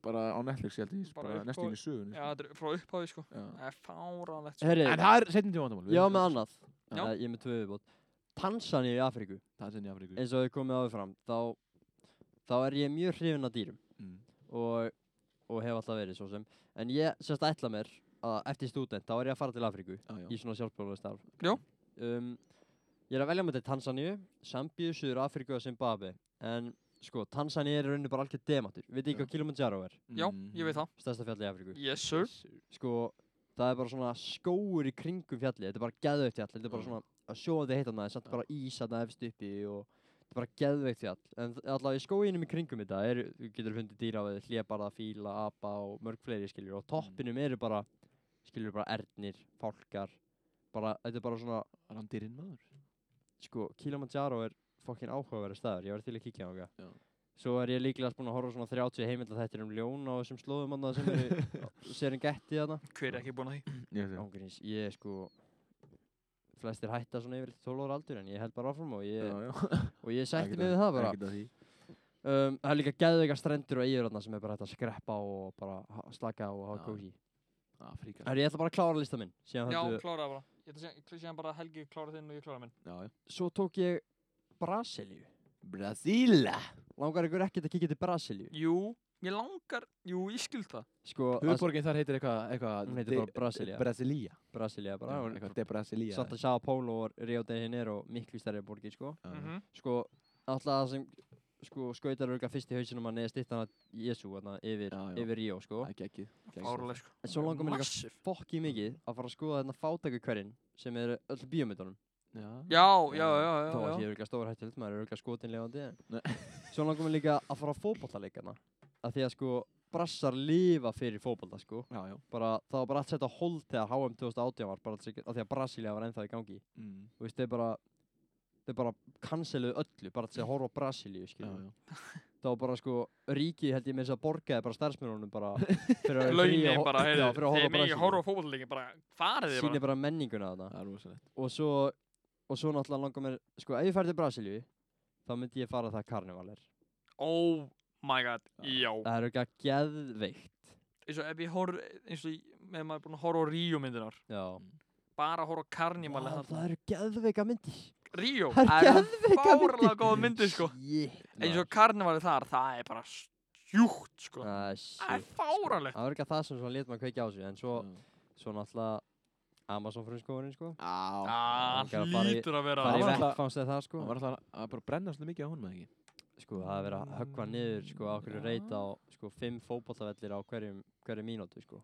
[SPEAKER 4] bara á Netflix ég held ég
[SPEAKER 3] Bara
[SPEAKER 4] bara
[SPEAKER 3] upp á-
[SPEAKER 4] næstíðin í sögunni
[SPEAKER 3] Já, þetta er frá upphafi sko,
[SPEAKER 4] já.
[SPEAKER 3] það er fáránlegt sko.
[SPEAKER 2] Mhm. Herri,
[SPEAKER 4] en það er setjum tíma vandamál
[SPEAKER 2] ég var með annað
[SPEAKER 4] Já.
[SPEAKER 2] Nei, Ég er með tvö viðbót Tansaníu í Afríku
[SPEAKER 4] það er setjum í Afríku
[SPEAKER 2] eins og þau komið áður fram þá, þá er ég mjög hrifin af dýrum
[SPEAKER 4] Mm.
[SPEAKER 2] og, og hef alltaf verið svo sem En ég sérst ætla mér að eftir stúdent þá er ég að fara til Afríku
[SPEAKER 4] Já, já.
[SPEAKER 2] í svona sjálfsbjörnustarf
[SPEAKER 3] Já.
[SPEAKER 2] um, Ég er að velja með þetta Tansaníu, Sambíu, Suður Afríku og Zimbabwe En sko, Tansaníu er í rauninu bara algjör dematur Við ekki
[SPEAKER 4] Já. Mm.
[SPEAKER 2] hvað Kilimanjaro er,
[SPEAKER 3] Já, ég veit það,
[SPEAKER 2] stærsta fjall í Afríku
[SPEAKER 3] yes sir
[SPEAKER 2] Sko, það er bara svona skóur í kringum fjallið, þetta er bara geðveikt fjall, þetta er bara
[SPEAKER 4] Já.
[SPEAKER 2] svona að sjóðandi heitt hana, samt bara ís hana efst uppi og þetta er bara geðveikt fjall, en þ- allavega í skóinum í kringum þetta er, þú getur fundið dýra á þið, hlébarða, fíla, apa og mörg fleiri skiljur og toppinum eru bara, skiljur bara ernir, fálkar, bara, þetta er bara svona,
[SPEAKER 4] Randirinn maður
[SPEAKER 2] sko, Kilimanjaro er fokkin áhugaverið staður, ég var til að kíkja á
[SPEAKER 4] Já.
[SPEAKER 2] það. Svo er ég líklega búinn að horfa á svona 30 heimildaþættir um ljón á þessum slóðum annað sem eru Serengeti þarna.
[SPEAKER 3] Hver er ekki búin að því?
[SPEAKER 4] Ég sé
[SPEAKER 2] Ángurins, ég er sko flestir hætta svona yfir 12 ára aldur en ég held bara áfram og ég, og ég sætti mig við það bara
[SPEAKER 4] Ekkert að því
[SPEAKER 2] um, það er líka geðveika strendur og eigur þarna sem er bara hægt að skreppa á og bara ha- slaka á og
[SPEAKER 4] Já.
[SPEAKER 2] hafa kósi
[SPEAKER 4] Afríka
[SPEAKER 2] Herri, ég ætla bara að klára lista minn síðan
[SPEAKER 3] Já,
[SPEAKER 2] höldu,
[SPEAKER 3] klára það bara. Ég ætla að segja bara að Helgi klára þinn og ég klára minn.
[SPEAKER 4] Já, já
[SPEAKER 2] svo tók ég Brasilíu
[SPEAKER 4] Brasíla
[SPEAKER 2] langar ykkur ekkert að kíkja til Brasilíu
[SPEAKER 3] Jú, ég langar, jú, ég skil það.
[SPEAKER 2] sko, að-
[SPEAKER 4] Hauðborgin þar heitir eitthvað eitthvað
[SPEAKER 2] Hún heitir
[SPEAKER 4] de-
[SPEAKER 2] bara Brasilia.
[SPEAKER 4] Brasilia
[SPEAKER 2] Brasilía bara
[SPEAKER 4] Já,
[SPEAKER 2] hún-
[SPEAKER 4] Eitthvað de Brasilia
[SPEAKER 2] Santa Sao Paulo og Rio de Janeiro miklu stærri borgir sko
[SPEAKER 4] Já, já.
[SPEAKER 3] Mhm.
[SPEAKER 2] sko alltaf það sem sko skautar eru fyrst í hausinum að neða stýttan að Jésu þarna yfir,
[SPEAKER 4] Já, já.
[SPEAKER 2] yfir Rio sko
[SPEAKER 4] Það er geggið geggið.
[SPEAKER 3] Árlega, sko.
[SPEAKER 2] en svo langar mér líka
[SPEAKER 3] Massive.
[SPEAKER 2] fokki mikið að fara að skoða þarna fátæku hverinn sem eru öll bíómyndunum
[SPEAKER 4] Já
[SPEAKER 3] Já, já, já, já,
[SPEAKER 2] þá er
[SPEAKER 3] já.
[SPEAKER 2] ég örgulega stór hættilegt maður er örgulega skotin lefandi
[SPEAKER 4] Nei.
[SPEAKER 2] en svo langar mér líka að fara á fótballaleikana að því að sko brassar lifa fyrir fótballa sko
[SPEAKER 4] Já, já
[SPEAKER 2] bara það var bara allt sett á hold þegar HM 2018 var bara alls ekki- að því að Brasilia var ennþá í gangi
[SPEAKER 4] Mm.
[SPEAKER 2] þú veist þeir bara þeir bara canceluðu öllu bara til að horfa á Brasilíu
[SPEAKER 4] Já,
[SPEAKER 2] skiljum
[SPEAKER 4] já
[SPEAKER 2] þá bara sko ríkið held ég með þess að borgaði bara starfsmjörnunum bara fyrir að
[SPEAKER 3] Launin
[SPEAKER 2] hor-
[SPEAKER 3] bara,
[SPEAKER 2] já,
[SPEAKER 3] heyrðu,
[SPEAKER 2] fyrir að
[SPEAKER 3] þeir
[SPEAKER 2] horfa á
[SPEAKER 3] megi
[SPEAKER 2] Brasilíu
[SPEAKER 3] horfa á fótbollleikin, bara farið þið
[SPEAKER 2] sýnir bara
[SPEAKER 3] bara.
[SPEAKER 2] menninguna þarna
[SPEAKER 4] Það er rosalegt
[SPEAKER 2] og svo og svo náttúrulega langar mér sko ef ég fær til Brasilíu þá myndi ég fara það karneval er
[SPEAKER 3] Oh my god, já.
[SPEAKER 2] það er eitthvað geðveikt
[SPEAKER 3] Eins og ef ég horf, eins og ég- ef maður er búin að horfa á Ríó myndinar,
[SPEAKER 2] já
[SPEAKER 3] bara að horfa á Carnival
[SPEAKER 2] Vá,
[SPEAKER 3] eða
[SPEAKER 2] Ah, það eru geðveika myndir
[SPEAKER 3] Ríó,
[SPEAKER 2] það
[SPEAKER 3] það
[SPEAKER 2] eru
[SPEAKER 3] er
[SPEAKER 2] geðveika myndir
[SPEAKER 3] fárlega góð myndi, sko.
[SPEAKER 2] Shit,
[SPEAKER 3] Eins og
[SPEAKER 2] maður.
[SPEAKER 3] Carnival þar, það er bara stjúkt, sko.
[SPEAKER 2] Ah,
[SPEAKER 3] Það er
[SPEAKER 2] shit.
[SPEAKER 3] fáralegt.
[SPEAKER 2] það var eitthvað það sem svona létt maður kveikja á sig en svo
[SPEAKER 4] Já.
[SPEAKER 2] svo náttúrulega Amazon frumskóðurinn sko
[SPEAKER 4] Á
[SPEAKER 3] Það
[SPEAKER 2] Langar að fara í-
[SPEAKER 3] hlýtur að vera
[SPEAKER 2] það er í
[SPEAKER 4] var náttúrulega-
[SPEAKER 2] vekkfangst eða það sko
[SPEAKER 4] Það var alltaf að bara brenna svona mikið á honum, eða ekki?
[SPEAKER 2] sko það er verið að höggva niður sko á hverju
[SPEAKER 4] Já.
[SPEAKER 2] reyta á sko fimm fótbollavellir á hverjum hverju mínútu sko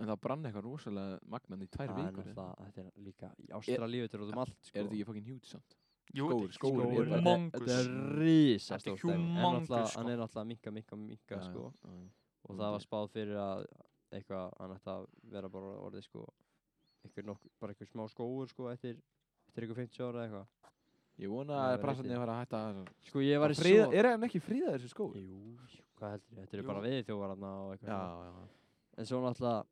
[SPEAKER 4] En það brann eitthvað rosalega magnan í tvær
[SPEAKER 2] það er
[SPEAKER 4] vikur eða?
[SPEAKER 2] náttúrulega þetta er líka í Ástralíu þetta er út um allt sko
[SPEAKER 4] Er þetta ekki fucking huge samt?
[SPEAKER 3] Jú,
[SPEAKER 4] skógur, skógur,
[SPEAKER 2] Skógur
[SPEAKER 4] er
[SPEAKER 2] er-
[SPEAKER 4] bara-
[SPEAKER 3] mongus.
[SPEAKER 2] þetta er risast
[SPEAKER 3] Þetta er humongous, sko.
[SPEAKER 2] hann er náttúrulega að minka minka minka
[SPEAKER 4] Já,
[SPEAKER 2] sko
[SPEAKER 4] já, já.
[SPEAKER 2] og það var spáð fyrir að eitthvað hann ætti að vera bara orðið sko eitthvað nokk bara eitthvað smá skóur sko eftir eftir eitthvað 50 ára eða eitthvað
[SPEAKER 4] Ég vona
[SPEAKER 2] Það
[SPEAKER 4] að
[SPEAKER 2] er
[SPEAKER 4] brassarnir
[SPEAKER 2] lítið.
[SPEAKER 4] fara að hætta þessar
[SPEAKER 2] sko ég var í
[SPEAKER 4] Friða-
[SPEAKER 2] svo
[SPEAKER 4] Er hann ekki fríða þessu skór?
[SPEAKER 2] jú jú, hvað heldur þetta
[SPEAKER 3] Jú.
[SPEAKER 2] eru bara við þjóðvarna og
[SPEAKER 4] Já,
[SPEAKER 2] eitthvað svona.
[SPEAKER 4] já, já
[SPEAKER 2] En svo náttúrulega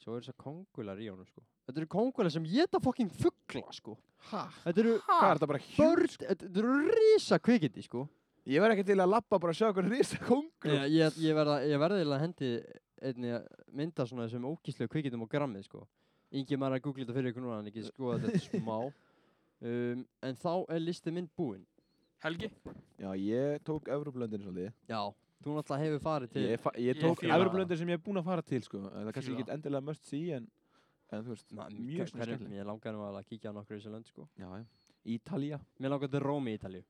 [SPEAKER 2] Svo eru þess að kongular í honum sko Þetta eru kongular sem geta fucking fuggla sko
[SPEAKER 4] Hæ?
[SPEAKER 2] Þetta eru
[SPEAKER 4] Hvað er þetta bara huge?
[SPEAKER 2] börn Þetta eru risa kvikindi sko
[SPEAKER 4] Ég verð ekki til að lappa bara að sjá hvernig risa kongur
[SPEAKER 2] Ég, ég, ég verða ég verða eiginlega að hendi einni mynda svona þessum ókíslegu kvikindum og grammið sko Ingi maður að googla þetta fyrir ykkur núna en ekki sko þetta smá um, En þá er listi minn búinn
[SPEAKER 3] Helgi,
[SPEAKER 4] Já, ég tók Evróplöndin svolítið
[SPEAKER 2] Já Þú náttúrulega hefur farið til
[SPEAKER 4] Ég, fa- ég
[SPEAKER 3] Ég
[SPEAKER 4] tók
[SPEAKER 3] fíla það.
[SPEAKER 4] Evróplöndin sem ég er búinn að fara til sko En Það er kannski
[SPEAKER 3] Fíla
[SPEAKER 4] ekki endilega must see en En þú veist,
[SPEAKER 2] Ma-
[SPEAKER 4] mjög svona
[SPEAKER 2] hverju-
[SPEAKER 4] skemmtileg
[SPEAKER 2] Mér langar nú alveg að kíkja á nokkur í þessu lönd sko
[SPEAKER 4] Já, já Ítalía
[SPEAKER 2] Mér langar til Rómi í Ítalju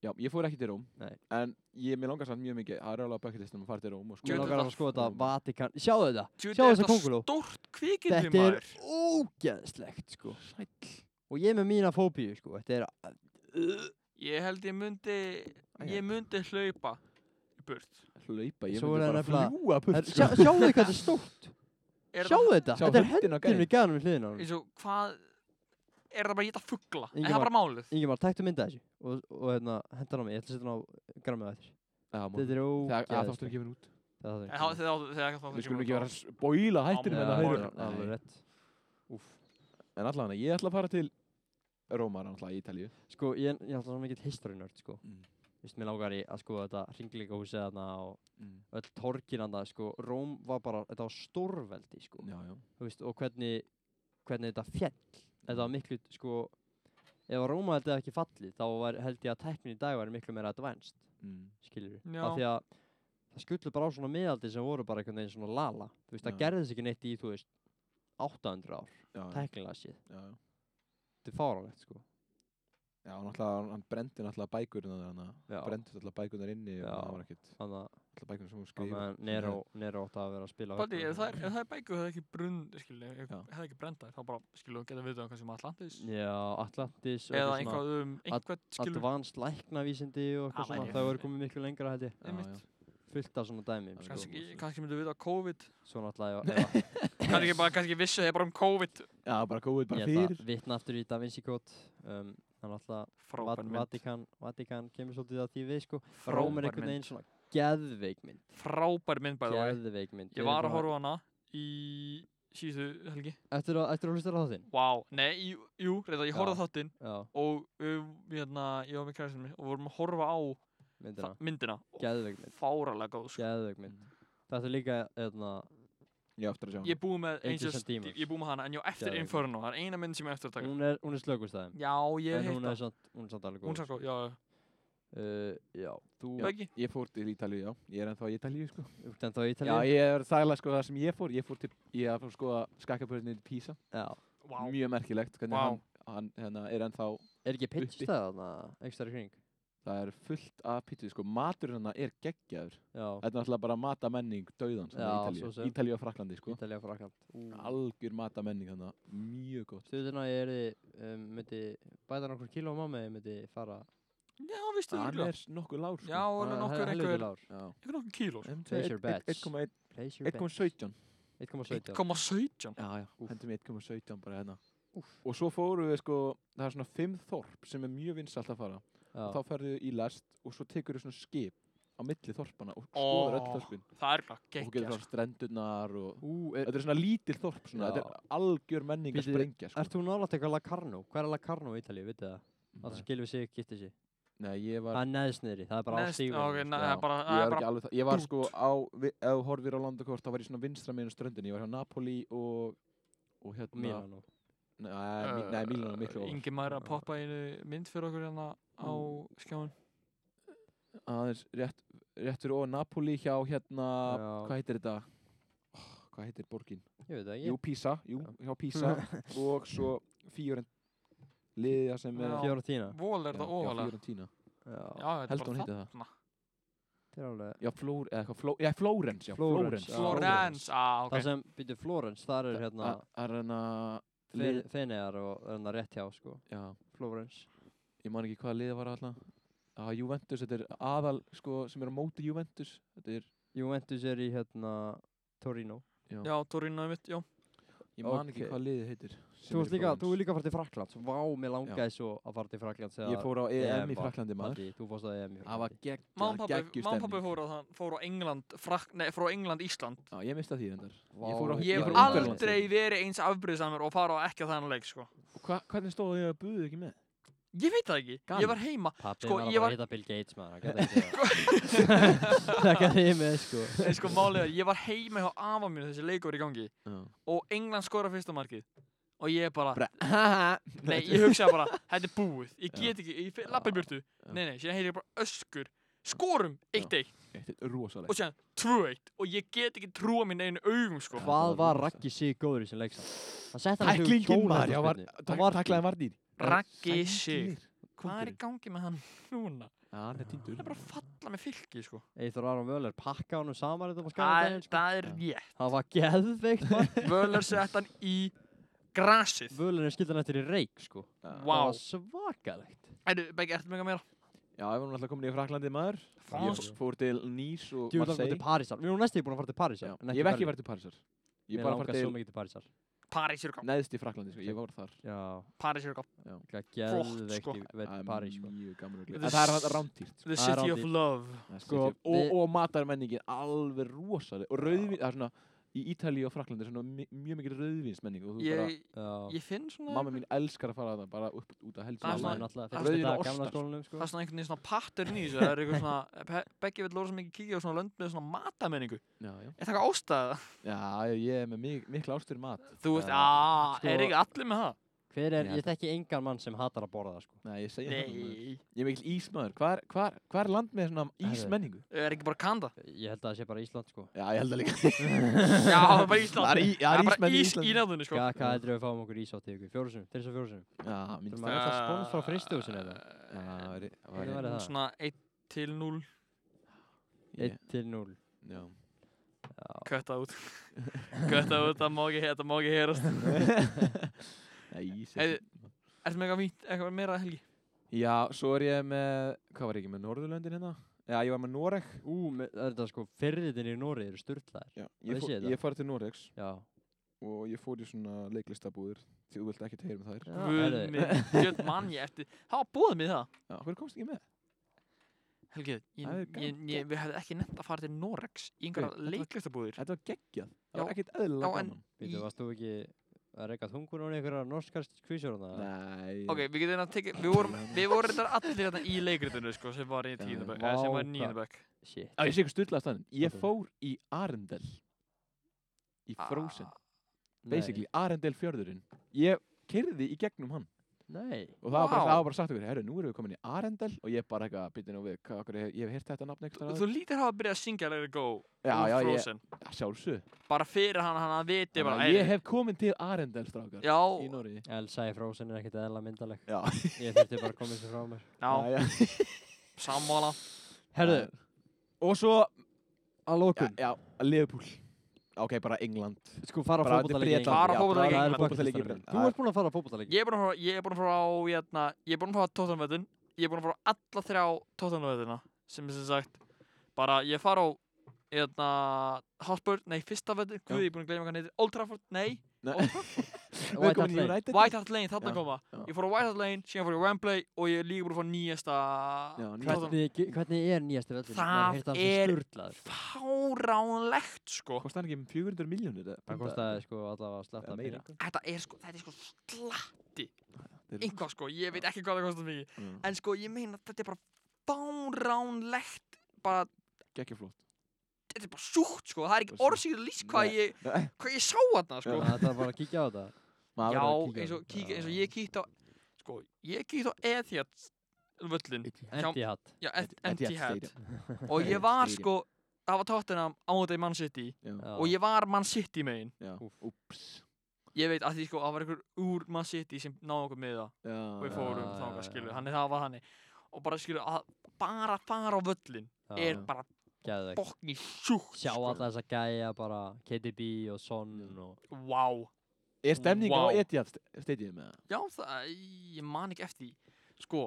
[SPEAKER 4] Já, ég fór ekki til Róm
[SPEAKER 2] Nei.
[SPEAKER 4] En ég, mér langar samt mjög mikið Það er alveg að bucketlistum að fara til Róm og
[SPEAKER 2] Mér
[SPEAKER 3] Djöfull
[SPEAKER 4] sko
[SPEAKER 2] langar að
[SPEAKER 3] er
[SPEAKER 2] fara að skoða þetta
[SPEAKER 4] Róm.
[SPEAKER 2] Vatikan Sjáðu þetta
[SPEAKER 3] djú,
[SPEAKER 2] Sjáðu
[SPEAKER 3] er
[SPEAKER 2] þessa könguló.
[SPEAKER 3] þetta stórt kvikindi
[SPEAKER 2] Þetta er
[SPEAKER 3] maður.
[SPEAKER 2] ógeðslegt sko Og ég er með mína fóbíu sko Þetta er
[SPEAKER 3] Ég held ég myndi, ég myndi hlaupa í burt.
[SPEAKER 4] Hlaupa, ég
[SPEAKER 2] Svo er
[SPEAKER 4] myndi
[SPEAKER 2] það
[SPEAKER 4] bara
[SPEAKER 2] nefnilega-
[SPEAKER 4] fljúga
[SPEAKER 2] er-
[SPEAKER 4] burt,
[SPEAKER 2] sjá,
[SPEAKER 4] sko.
[SPEAKER 2] Sjáu þið hvað þetta er stórt
[SPEAKER 3] Er
[SPEAKER 2] Sjáu
[SPEAKER 3] það,
[SPEAKER 2] þetta
[SPEAKER 4] Sjá
[SPEAKER 2] Þetta er
[SPEAKER 4] höndina á
[SPEAKER 2] hendinu
[SPEAKER 4] gæjanum.
[SPEAKER 2] í gæðanum við hliðina á honum
[SPEAKER 3] eins og hvað, er það bara að geta fuggla? Er
[SPEAKER 2] Ingimar.
[SPEAKER 3] það bara málið?
[SPEAKER 2] Ingemar, tæktu mynda þessu Og, og hérna, hendan á mig Ég ætla að setja hann á grammið eftir
[SPEAKER 4] Já, mó-
[SPEAKER 2] Þetta er
[SPEAKER 4] Það
[SPEAKER 2] ógeðslegt
[SPEAKER 4] það þáttur ekki verið út
[SPEAKER 2] Það
[SPEAKER 3] Þegar það,
[SPEAKER 2] þáttur
[SPEAKER 3] þegar það, þegar það.
[SPEAKER 4] Við skulum ekki vera að bóila hættinu
[SPEAKER 3] Já,
[SPEAKER 2] Það
[SPEAKER 4] með það
[SPEAKER 3] já,
[SPEAKER 2] er
[SPEAKER 3] já,
[SPEAKER 4] haugur.
[SPEAKER 2] alveg rétt
[SPEAKER 4] En allavega, ég ætla að fara til Róma, náttúrulega í Ítalíu.
[SPEAKER 2] Sko, ég ég er alltaf svo mikill historynörd sko
[SPEAKER 4] Mm.
[SPEAKER 2] Vist, mér langar í að skoða þetta Ringleika húsið þarna Og
[SPEAKER 4] Mm.
[SPEAKER 2] öll torkin þarna sko Róm var bara Þetta var stórveldi sko
[SPEAKER 4] Já, já.
[SPEAKER 2] þú veist, og hvernig, hvernig þetta fjall þetta var miklu, sko ef að Róma held eða ekki fallið þá var, held ég að tæknin í dag var miklu meira advanced
[SPEAKER 4] Mm.
[SPEAKER 2] skilur
[SPEAKER 3] Já.
[SPEAKER 2] af því að það skullu bara á svona miðaldi sem voru bara einhvern veginn svona lala þú veist, það
[SPEAKER 4] Já.
[SPEAKER 2] gerðis ekki neitt í, þú veist 800 ár,
[SPEAKER 4] Já, já,
[SPEAKER 2] tæknilega séð
[SPEAKER 4] já.
[SPEAKER 2] þetta er fáránlegt, sko
[SPEAKER 4] Já, náttúrulega, hann brendi náttúrulega bækurnar hann
[SPEAKER 2] Já.
[SPEAKER 4] brendi náttúrulega bækurnar inni og
[SPEAKER 2] Já.
[SPEAKER 4] það var ekkert
[SPEAKER 2] Þannig að-
[SPEAKER 4] náttúrulega bækurnar sem hún
[SPEAKER 2] þannig
[SPEAKER 4] skrifa
[SPEAKER 2] að Nero, Nero átti að vera að spila á
[SPEAKER 3] Bæti,
[SPEAKER 2] hausnum.
[SPEAKER 3] ef það er, ef það er bækur, það er ekki brunn, skilja, ég
[SPEAKER 4] Já.
[SPEAKER 3] hefði ekki brendar, þá bara, skilja, geta við það sem Atlantis,
[SPEAKER 2] Já, Atlantis og eitthvað
[SPEAKER 3] eða
[SPEAKER 2] svona
[SPEAKER 3] einhvað um einhvern, skilja,
[SPEAKER 2] Advanced læknavísindi og
[SPEAKER 3] Ah,
[SPEAKER 2] eitthvað svona
[SPEAKER 3] væri-
[SPEAKER 2] Það voru komið miklu lengra held ég
[SPEAKER 3] einmitt,
[SPEAKER 2] Fullt af svona dæmi
[SPEAKER 4] Já,
[SPEAKER 2] sko.
[SPEAKER 3] kannski, kannski myndu við það COVID,
[SPEAKER 2] Svo náttúrulega ef- ef
[SPEAKER 3] kannski bara, kannski vissu þeir bara um COVID,
[SPEAKER 4] Já, bara góðið
[SPEAKER 2] að-
[SPEAKER 4] bara
[SPEAKER 2] Ég
[SPEAKER 4] fyrir
[SPEAKER 2] ætla að vitna aftur í Da Vinci Code um, Þannig alltaf Vat,
[SPEAKER 3] frábær mynd,
[SPEAKER 2] Vatikan, Vatikan kemur svolítið að því við sko Róm er
[SPEAKER 3] frábær
[SPEAKER 2] einhvern veginn
[SPEAKER 3] mynd,
[SPEAKER 2] svona geðveik mynd
[SPEAKER 3] frábær mynd, bæði,
[SPEAKER 2] Geðveik mynd
[SPEAKER 3] ég var að horfa á hana í síðustu helgi,
[SPEAKER 2] Eftir að, eftir að hlusta á þáttinn
[SPEAKER 3] wow, nei, í- jú, reynda, ég
[SPEAKER 2] Já.
[SPEAKER 3] horfði á þáttinn
[SPEAKER 2] Já,
[SPEAKER 3] og við, við hérna, ég var með kærastinn minn og vorum að horfa á
[SPEAKER 2] myndina
[SPEAKER 3] þa- myndina og
[SPEAKER 2] Geðveik mynd
[SPEAKER 3] fáralega góð, sko,
[SPEAKER 2] Geðveik mynd Þetta er líka, hérna, eðna,
[SPEAKER 4] Ég á eftir að sjá
[SPEAKER 3] ég er búið með
[SPEAKER 2] Angels
[SPEAKER 3] Angels,
[SPEAKER 2] and Demons.
[SPEAKER 3] ég er búið með hana, en ég á eftir
[SPEAKER 2] Geðveik.
[SPEAKER 3] Inferno, það er eina mynd sem ég á eftir að taka,
[SPEAKER 2] hún er, hún er slökustæðum
[SPEAKER 3] já, ég
[SPEAKER 2] Mm. En
[SPEAKER 3] hef
[SPEAKER 2] hún er
[SPEAKER 3] heitt það,
[SPEAKER 2] samt, hún er samt alveg góð
[SPEAKER 3] hún sagði, já, já.
[SPEAKER 2] Uh, já, þú
[SPEAKER 3] Já, ekki?
[SPEAKER 4] Ég fór til Ítalíu, já, ég er ennþá í Ítalíu sko
[SPEAKER 2] ert ennþá í
[SPEAKER 4] Já,
[SPEAKER 2] Ítalíu?
[SPEAKER 4] ég er þærlega sko það sem ég fór Ég fór til, ég er að skoða skakkapörðinni í Pisa
[SPEAKER 2] Já.
[SPEAKER 3] Vá,
[SPEAKER 2] Mm.
[SPEAKER 4] Mjög merkilegt hvernig
[SPEAKER 3] Vá.
[SPEAKER 4] hann, hann hérna, er ennþá
[SPEAKER 2] Er ekki
[SPEAKER 4] Uppi.
[SPEAKER 2] pitchstæða þarna, ekstra kring?
[SPEAKER 4] Það er fullt af pítið sko Maturinn hann er geggjaður
[SPEAKER 2] Já,
[SPEAKER 4] Þetta er náttúrulega bara matamenning dauðan sem er
[SPEAKER 2] Já,
[SPEAKER 4] í
[SPEAKER 2] svo
[SPEAKER 4] Ítalíu
[SPEAKER 2] sem.
[SPEAKER 4] Ítalíu og Fraklandi sko
[SPEAKER 2] Ítalíu og Frakland.
[SPEAKER 4] Algjör matamenning hann Mjög gott
[SPEAKER 2] Stuðuna ég erði, um, myndi bæta nokkur kíló á mamma, ég myndi fara.
[SPEAKER 3] já, veistu það
[SPEAKER 4] Hann
[SPEAKER 3] örgulega.
[SPEAKER 4] er nokkuð lár sko
[SPEAKER 3] Já, hann er
[SPEAKER 2] Ah,
[SPEAKER 3] nokkur
[SPEAKER 2] hel- helviti
[SPEAKER 3] einhver,
[SPEAKER 2] lár.
[SPEAKER 4] Já.
[SPEAKER 3] einhver nokkur kíló, sko.
[SPEAKER 4] Einmitt,
[SPEAKER 2] Place
[SPEAKER 4] eitt-
[SPEAKER 2] your
[SPEAKER 4] Um eitt-
[SPEAKER 2] bets.
[SPEAKER 4] 1,1
[SPEAKER 2] Place your bet.
[SPEAKER 4] 1,17
[SPEAKER 2] 1,17.
[SPEAKER 3] 1,17.
[SPEAKER 4] Já, já,
[SPEAKER 2] Úff.
[SPEAKER 4] hendum við 1,17 bara hérna Og svo fórum við sko Það er svona 5 þorp sem er mjög vinsalt að fara
[SPEAKER 2] Já.
[SPEAKER 4] og Þá ferðu í lest og svo tekur við svona skip á milli þorpana og
[SPEAKER 3] Ó,
[SPEAKER 4] skoðar öll þorpin
[SPEAKER 3] Það er sko. eitthvað
[SPEAKER 4] og getur
[SPEAKER 3] geggja,
[SPEAKER 4] frá strendurnar og
[SPEAKER 2] Ú, er,
[SPEAKER 4] Þetta er svona lítil þorp
[SPEAKER 2] Já.
[SPEAKER 4] svona, þetta er algjör menning að
[SPEAKER 2] Bíddu,
[SPEAKER 4] sprengja sko.
[SPEAKER 2] ert þú nálægt eitthvað La Carno? Hvað er La Carno í Ítalíu, vitið það? Að það skilfi sig, gifti sig.
[SPEAKER 4] Nei, ég var
[SPEAKER 2] Það er neðsniðri, það er bara á
[SPEAKER 3] Neðst-
[SPEAKER 2] stífum.
[SPEAKER 3] ok, na- það
[SPEAKER 4] Já,
[SPEAKER 3] er bara, það
[SPEAKER 4] ég var
[SPEAKER 3] er
[SPEAKER 4] ekki
[SPEAKER 3] bara,
[SPEAKER 4] alveg það, ég var
[SPEAKER 3] dút.
[SPEAKER 4] sko á, vi, ef þú horfir á landakort þá var ég svona vinstra meginn á ströndinni, ég var hjá Napoli og, og hérna,
[SPEAKER 2] Milano.
[SPEAKER 4] nei, uh, nei Milan var miklu ofar,
[SPEAKER 3] Ingi maður að poppa einu mynd fyrir okkur hérna á skjáin.
[SPEAKER 4] aðeins rétt, rétt fyrir ofar Napoli hjá hérna,
[SPEAKER 2] Já.
[SPEAKER 4] hvað heitir þetta, oh, hvað heitir borgin,
[SPEAKER 2] Ég veit það ekki.
[SPEAKER 4] jú Pisa, jú, hjá Pisa og svo Fiorentina, liðið það sem er,
[SPEAKER 3] Já.
[SPEAKER 2] Fiorentina.
[SPEAKER 3] Vol er
[SPEAKER 4] já,
[SPEAKER 3] það
[SPEAKER 4] já,
[SPEAKER 3] ofalega.
[SPEAKER 4] Fiorentina,
[SPEAKER 2] Já,
[SPEAKER 3] Já, þetta er
[SPEAKER 4] Heldur hún
[SPEAKER 3] bara
[SPEAKER 4] heiti það?
[SPEAKER 3] þarna.
[SPEAKER 2] þetta er alveg.
[SPEAKER 4] já, Flór, eða eitthvað, Fló, já, Flórens, já,
[SPEAKER 2] Flórens,
[SPEAKER 4] Flórens,
[SPEAKER 2] já.
[SPEAKER 3] Florence, á,
[SPEAKER 2] Það
[SPEAKER 3] ok.
[SPEAKER 2] sem byrju Florence, þar er hérna
[SPEAKER 4] Þa- það er hérna, lið,
[SPEAKER 2] Fenegar og hérna rétt hjá, sko.
[SPEAKER 4] já,
[SPEAKER 2] Florence.
[SPEAKER 4] ég man ekki hvaða liðið var alltaf að Juventus, þetta er aðal sko, sem er á móti Juventus þetta er,
[SPEAKER 2] Juventus er í hérna Torino.
[SPEAKER 4] já,
[SPEAKER 3] Já, Torino er mitt, já.
[SPEAKER 4] ég man ekki
[SPEAKER 2] ok.
[SPEAKER 4] hvaða liðið heitir sem
[SPEAKER 2] Þú
[SPEAKER 4] er
[SPEAKER 2] varst
[SPEAKER 4] í
[SPEAKER 2] líka,
[SPEAKER 4] Flórens.
[SPEAKER 2] þú er líka að fara til Frakland. Svo vá, mér langaði svo að fara til Frakland. þegar
[SPEAKER 4] ég fór á EM í
[SPEAKER 2] var-
[SPEAKER 4] Fraklandi maður
[SPEAKER 2] Baddi, Þú fórst á EM í
[SPEAKER 4] það var
[SPEAKER 2] Fraklandi.
[SPEAKER 4] geggjur
[SPEAKER 3] Mámpappi, mámpappi
[SPEAKER 4] stemning
[SPEAKER 3] fór á það, fór á England, frak, nei, fór á England, Ísland.
[SPEAKER 4] já, ég mista því endar
[SPEAKER 2] Vá,
[SPEAKER 4] ég fór á-
[SPEAKER 3] Ég hef
[SPEAKER 4] fór á Ungverjaland.
[SPEAKER 3] aldrei verið eins afbrýðsamur og fara á ekki á þannig leik, sko.
[SPEAKER 4] Hva, hvernig stóðu ég að buðu ekki með
[SPEAKER 3] Ég veit það ekki,
[SPEAKER 4] Gaman.
[SPEAKER 3] ég var heima.
[SPEAKER 2] Pappi
[SPEAKER 3] sko,
[SPEAKER 2] var að
[SPEAKER 3] ég
[SPEAKER 2] fara
[SPEAKER 3] var-
[SPEAKER 2] að hitta Bill Gates maður, hann gæti ekki það. Það gæti ég með, sko.
[SPEAKER 3] Nei, sko, málið er, ég var heima hjá afa mínu þessi leikur í gangi
[SPEAKER 4] Já.
[SPEAKER 3] og England skora fyrsta markið og ég bara,
[SPEAKER 4] Bre-
[SPEAKER 3] nei, ég hugsaði bara þetta er búið, ég
[SPEAKER 4] Já.
[SPEAKER 3] get ekki, ég lappa í burtu
[SPEAKER 4] Já.
[SPEAKER 3] nei, nei, síðan heyri ég bara öskur skorum 1-1
[SPEAKER 4] þetta er rosalegt
[SPEAKER 3] og síðan 2-1 og ég get ekki trúa mín einu augum, sko
[SPEAKER 2] Hvað var Raggi Sig góður í sem leiksa? Hann sett hann
[SPEAKER 4] tæklingin maður já, var-
[SPEAKER 2] Það
[SPEAKER 4] tak-
[SPEAKER 2] var
[SPEAKER 4] taklaði Vardír
[SPEAKER 3] Raggi sig,
[SPEAKER 4] Sælir.
[SPEAKER 3] hvað er í
[SPEAKER 4] Kóngurinn.
[SPEAKER 3] gangi með hann núna?
[SPEAKER 4] Já, hann er týndur
[SPEAKER 3] Hann er bara að falla með fylki, sko
[SPEAKER 2] Eithor Aron Völler pakka hann um saman þetta á
[SPEAKER 3] það
[SPEAKER 2] skæðan
[SPEAKER 3] er- það er
[SPEAKER 4] Já.
[SPEAKER 3] ég
[SPEAKER 2] Það var geðveikt mark.
[SPEAKER 3] Völar sett hann í grasið
[SPEAKER 2] Völler er skildan eftir í reik sko.
[SPEAKER 4] já,
[SPEAKER 3] Vá.
[SPEAKER 2] Það var svakalegt.
[SPEAKER 3] Æru, Beggi, ertu með eitthvað meira?
[SPEAKER 4] við erum alltaf komin í Fraklandi maður ég
[SPEAKER 3] Frans,
[SPEAKER 4] fór til Nýs og
[SPEAKER 2] Djúðan kom til
[SPEAKER 4] Marseille
[SPEAKER 2] Parísar. Við erum næstu búin að fara til
[SPEAKER 4] Já,
[SPEAKER 2] Parísar. en
[SPEAKER 4] ég hef ekki
[SPEAKER 2] Berlín.
[SPEAKER 4] verið til Parísar ég
[SPEAKER 2] Mér
[SPEAKER 4] er bara farið
[SPEAKER 2] langaði svo
[SPEAKER 4] til
[SPEAKER 2] mikið til Parísar.
[SPEAKER 3] París er gafn,
[SPEAKER 4] neðst í Fraklandi sko. ég var þar
[SPEAKER 2] Já,
[SPEAKER 3] París er gafn
[SPEAKER 2] líka
[SPEAKER 3] sko.
[SPEAKER 2] geðveikt í
[SPEAKER 4] Það er
[SPEAKER 2] París sko.
[SPEAKER 4] mjög gaman að
[SPEAKER 3] Þetta
[SPEAKER 4] gleyma
[SPEAKER 3] er
[SPEAKER 4] En það
[SPEAKER 3] s-
[SPEAKER 4] er rándýrt sko.
[SPEAKER 3] The
[SPEAKER 2] Það er
[SPEAKER 3] City of
[SPEAKER 2] rándýrt.
[SPEAKER 3] Love
[SPEAKER 2] Sko,
[SPEAKER 4] sko, og,
[SPEAKER 2] við-
[SPEAKER 4] og matarmenningin alveg rosaleg og rauðvin, það er svona í Ítalíu og Fraklandi er svona mi- mjög mikil rauðvinsmenning og þú bara,
[SPEAKER 3] Ég,
[SPEAKER 2] Já.
[SPEAKER 3] ég finn svona
[SPEAKER 4] mamma mín elskar að fara að það bara upp út að helsa
[SPEAKER 3] Það
[SPEAKER 2] Mamma
[SPEAKER 3] er svona-
[SPEAKER 2] er náttúrulega
[SPEAKER 3] það er
[SPEAKER 2] fyrst
[SPEAKER 4] svona
[SPEAKER 2] dag gamla
[SPEAKER 4] ostar.
[SPEAKER 2] skólanum
[SPEAKER 3] Það
[SPEAKER 2] sko.
[SPEAKER 3] er svona einhvern veginn svona pattern í þessu Það er eitthvað svona Pe- Beggi vill lóra sem ekki kíkja á svona lönd með svona matamenningu
[SPEAKER 4] já, já.
[SPEAKER 3] Er það eitthvað ástæða?
[SPEAKER 4] já, ég er með mik mikla ástur í mat
[SPEAKER 3] Þú veist,
[SPEAKER 4] Já,
[SPEAKER 3] aaa,
[SPEAKER 2] sko-
[SPEAKER 3] er ekki allir með það?
[SPEAKER 2] Hver er,
[SPEAKER 4] Ég
[SPEAKER 2] ég
[SPEAKER 4] held
[SPEAKER 2] þekki engan mann sem hatar að borða það sko
[SPEAKER 4] Nei, ég segi það maður.
[SPEAKER 3] Nei,
[SPEAKER 4] Ég er mikil ísmaður, hvað er, hvað er, hvað er land með svona
[SPEAKER 2] Herðu.
[SPEAKER 4] ísmenningu?
[SPEAKER 3] er ekki bara kanda
[SPEAKER 2] Ég held að það sé bara Ísland sko
[SPEAKER 4] Já, ég held að líka
[SPEAKER 3] Já, það er bara Ísland
[SPEAKER 4] Það er í- það er
[SPEAKER 3] bara
[SPEAKER 4] ísmenn í
[SPEAKER 3] ís
[SPEAKER 4] Íslandi.
[SPEAKER 3] í náðunni sko
[SPEAKER 2] Hvað hvað heldur við að við fáum okkur ís á til ykkur? Fjóru sinum, þess að fjóru sinum
[SPEAKER 4] Já, minnst
[SPEAKER 2] Þurfum að
[SPEAKER 4] það
[SPEAKER 2] alltaf spons frá fristihúsinu eða?
[SPEAKER 4] hérna. Já, það væri- það
[SPEAKER 2] Hvernig
[SPEAKER 4] væri-
[SPEAKER 2] væri það?
[SPEAKER 3] Eh, um Svona 1 til 0
[SPEAKER 4] ég-
[SPEAKER 2] 1 til 0
[SPEAKER 4] Já,
[SPEAKER 3] Kötta út Kötta út, það má ekki, þetta má ekki herast
[SPEAKER 4] Já, ís er
[SPEAKER 3] Heyrðu. Ertu með eitthvað fínt, eitthvað meira helgi?
[SPEAKER 4] Já, svo er ég með, hvað var ég ekki með Norðurlöndin hérna? Já, ég var með Noreg.
[SPEAKER 2] Ú, með- það er þetta sko, ferðitin í Nóri eru sturlaðir Það
[SPEAKER 4] Já, ég, fó,
[SPEAKER 2] vissi ég þetta.
[SPEAKER 4] ég fór til Noregs
[SPEAKER 2] Já
[SPEAKER 4] og ég fór í svona leiklistabúðir því þú vilt ekki tegja um þær.
[SPEAKER 2] Já,
[SPEAKER 3] Guð
[SPEAKER 2] herðu.
[SPEAKER 3] minn, gjöld mann ég eftir Það var búið mér það
[SPEAKER 4] Já, hver komst ekki með?
[SPEAKER 3] Helgi, ég,
[SPEAKER 4] Það er
[SPEAKER 3] ég, ég, við hefði ekki nefnt að fara til Noregs í einhverja
[SPEAKER 4] Guð, þetta var-
[SPEAKER 3] leiklistabúðir
[SPEAKER 4] Þetta var geggjað.
[SPEAKER 3] Já.
[SPEAKER 4] Það var ekkert eðlilega
[SPEAKER 3] Já, en-
[SPEAKER 4] gaman.
[SPEAKER 2] Býtu, varst þú ekki að reyka þungur núna í einhverja norskar kvísjóra þarna?
[SPEAKER 4] Nei.
[SPEAKER 3] Ok, við getum að tekja, við vorum, við vorum þetta allir hérna í leikritinu sko sem var í
[SPEAKER 4] Já,
[SPEAKER 3] tíðanbæk,
[SPEAKER 2] vá,
[SPEAKER 3] sem var í
[SPEAKER 2] hvað-
[SPEAKER 3] níðanbæk
[SPEAKER 2] Shit.
[SPEAKER 4] Já, ég sé ykkur styrlaðast þannig. Ég
[SPEAKER 2] Ok.
[SPEAKER 4] fór í Arendel. Í
[SPEAKER 3] Ah,
[SPEAKER 4] Frozen. Basically, Arendel fjörðurinn. Ég keirði í gegnum hann.
[SPEAKER 2] Nei. Nei.
[SPEAKER 4] Og það var bara,
[SPEAKER 3] Vá.
[SPEAKER 4] það var bara sagt okkur, herru, nú erum við komin í Arendel og ég bara eitthvað, býtti nú við, hvað, okkur, ég hef heyrt þetta nafn eitthvað.
[SPEAKER 3] Þú lítir hafa byrjað að syngja Let it go
[SPEAKER 4] já,
[SPEAKER 3] úr
[SPEAKER 4] já, ég,
[SPEAKER 3] Frozen
[SPEAKER 4] sjálfsög.
[SPEAKER 3] Bara fyrir hann, hann að viti bara
[SPEAKER 4] Ég
[SPEAKER 3] "Æ,
[SPEAKER 4] hef komin til Arendel, strákar.
[SPEAKER 3] Já,
[SPEAKER 4] í Nóri
[SPEAKER 2] Elsa í Frozen er ekkert eðla myndaleg.
[SPEAKER 4] Já,
[SPEAKER 2] Ég þurfti bara að koma þessu frá mér.
[SPEAKER 3] já,
[SPEAKER 4] já.
[SPEAKER 3] sammála
[SPEAKER 2] Herðu,
[SPEAKER 4] Og svo
[SPEAKER 2] að
[SPEAKER 4] Já,
[SPEAKER 2] lókun.
[SPEAKER 4] já Liverpool Ok, bara England
[SPEAKER 2] Sko, fara á
[SPEAKER 4] Bara
[SPEAKER 2] fótboltaleiki.
[SPEAKER 4] til Bretland.
[SPEAKER 3] Fara á
[SPEAKER 4] Já,
[SPEAKER 3] fótboltaleiki í
[SPEAKER 4] bara
[SPEAKER 3] England.
[SPEAKER 4] fótboltaleiki í
[SPEAKER 2] Þú
[SPEAKER 4] Bretland.
[SPEAKER 2] ert búin að fara á fótboltaleiki.
[SPEAKER 3] Ég er búinn að fara, ég er búinn að fara á, hérna, ég er búinn að fara á tóttanvöðin, ég er búinn að fara á alla þrjá tóttanvöðina, sem er sem sagt, bara ég fara á, hérna, Hotspur, nei, fyrsta vöðin, guð, ég er búinn að gleyma hvað hann heitir, Old Trafford, nei,
[SPEAKER 4] Nei.
[SPEAKER 3] Old Trafford,
[SPEAKER 4] Við
[SPEAKER 2] White Hart
[SPEAKER 4] erum komin í
[SPEAKER 2] Lane.
[SPEAKER 4] United
[SPEAKER 3] White Hart Lane, þarna
[SPEAKER 4] Já,
[SPEAKER 3] koma,
[SPEAKER 4] já.
[SPEAKER 3] ég fór á White Hart Lane, síðan fór ég á Wembley og ég er líka búinn að fara á nýjasta
[SPEAKER 4] Já, nýjasta.
[SPEAKER 3] Tottenham.
[SPEAKER 2] Hvernig, hvernig er nýjasti völlur?
[SPEAKER 3] Það er-
[SPEAKER 2] sturglaður.
[SPEAKER 3] Fáránlegt, sko.
[SPEAKER 4] Kostaði hann ekki um 400 miljónir
[SPEAKER 2] Það kostaði sko allavega að sletta
[SPEAKER 4] Eða meira.
[SPEAKER 2] peningum.
[SPEAKER 3] Þetta er sko, þetta er sko slatti,
[SPEAKER 4] Þetta er-
[SPEAKER 3] einhvað sko, ég veit ekki hvað það kostar mikið,
[SPEAKER 4] sko
[SPEAKER 3] en sko, ég meina, þetta er bara fáránlegt, bara
[SPEAKER 4] Gekki flott
[SPEAKER 3] þetta er bara súkt sko, það er ekki
[SPEAKER 4] Bara
[SPEAKER 3] orðsíkir að lýsa hvað
[SPEAKER 4] Nei.
[SPEAKER 3] ég,
[SPEAKER 4] Nei.
[SPEAKER 3] hvað ég sá þarna sko.
[SPEAKER 2] Það þarf bara að kíkja á þetta.
[SPEAKER 4] Maður
[SPEAKER 3] Já,
[SPEAKER 4] verður að kíkja á
[SPEAKER 3] eins og,
[SPEAKER 4] þetta.
[SPEAKER 3] kíkja, eins og ég kíkt á, sko, ég kíkt á Etihad völlin, Já.
[SPEAKER 2] Endi hatt.
[SPEAKER 3] já, Et-
[SPEAKER 4] Etihad
[SPEAKER 3] Etihad,
[SPEAKER 4] Stadium.
[SPEAKER 3] og ég var
[SPEAKER 4] Stadium.
[SPEAKER 3] sko, það var tóttina á þetta í Man City
[SPEAKER 4] Já,
[SPEAKER 3] og ég var Man City megin.
[SPEAKER 4] já
[SPEAKER 2] Úff.
[SPEAKER 4] Úps
[SPEAKER 3] Ég veit að því sko, það var einhver úr Man City sem náði okkur með það
[SPEAKER 4] Já
[SPEAKER 3] og við fórum
[SPEAKER 2] já, já,
[SPEAKER 3] þáka,
[SPEAKER 2] já.
[SPEAKER 3] skilu, hann er það var hann og bara skilu, að bara fara á völlin er sko.
[SPEAKER 4] já.
[SPEAKER 3] bara
[SPEAKER 2] Gæðvegt.
[SPEAKER 3] bokni sjúkt,
[SPEAKER 2] Sjá alla þessa gæja bara, KDB og Son
[SPEAKER 4] Já.
[SPEAKER 2] og...
[SPEAKER 3] wow.
[SPEAKER 4] Er stemning á
[SPEAKER 3] Vá.
[SPEAKER 4] Etihad st- stadium eða?
[SPEAKER 3] Já, það, ég man ekki eftir því. Sko,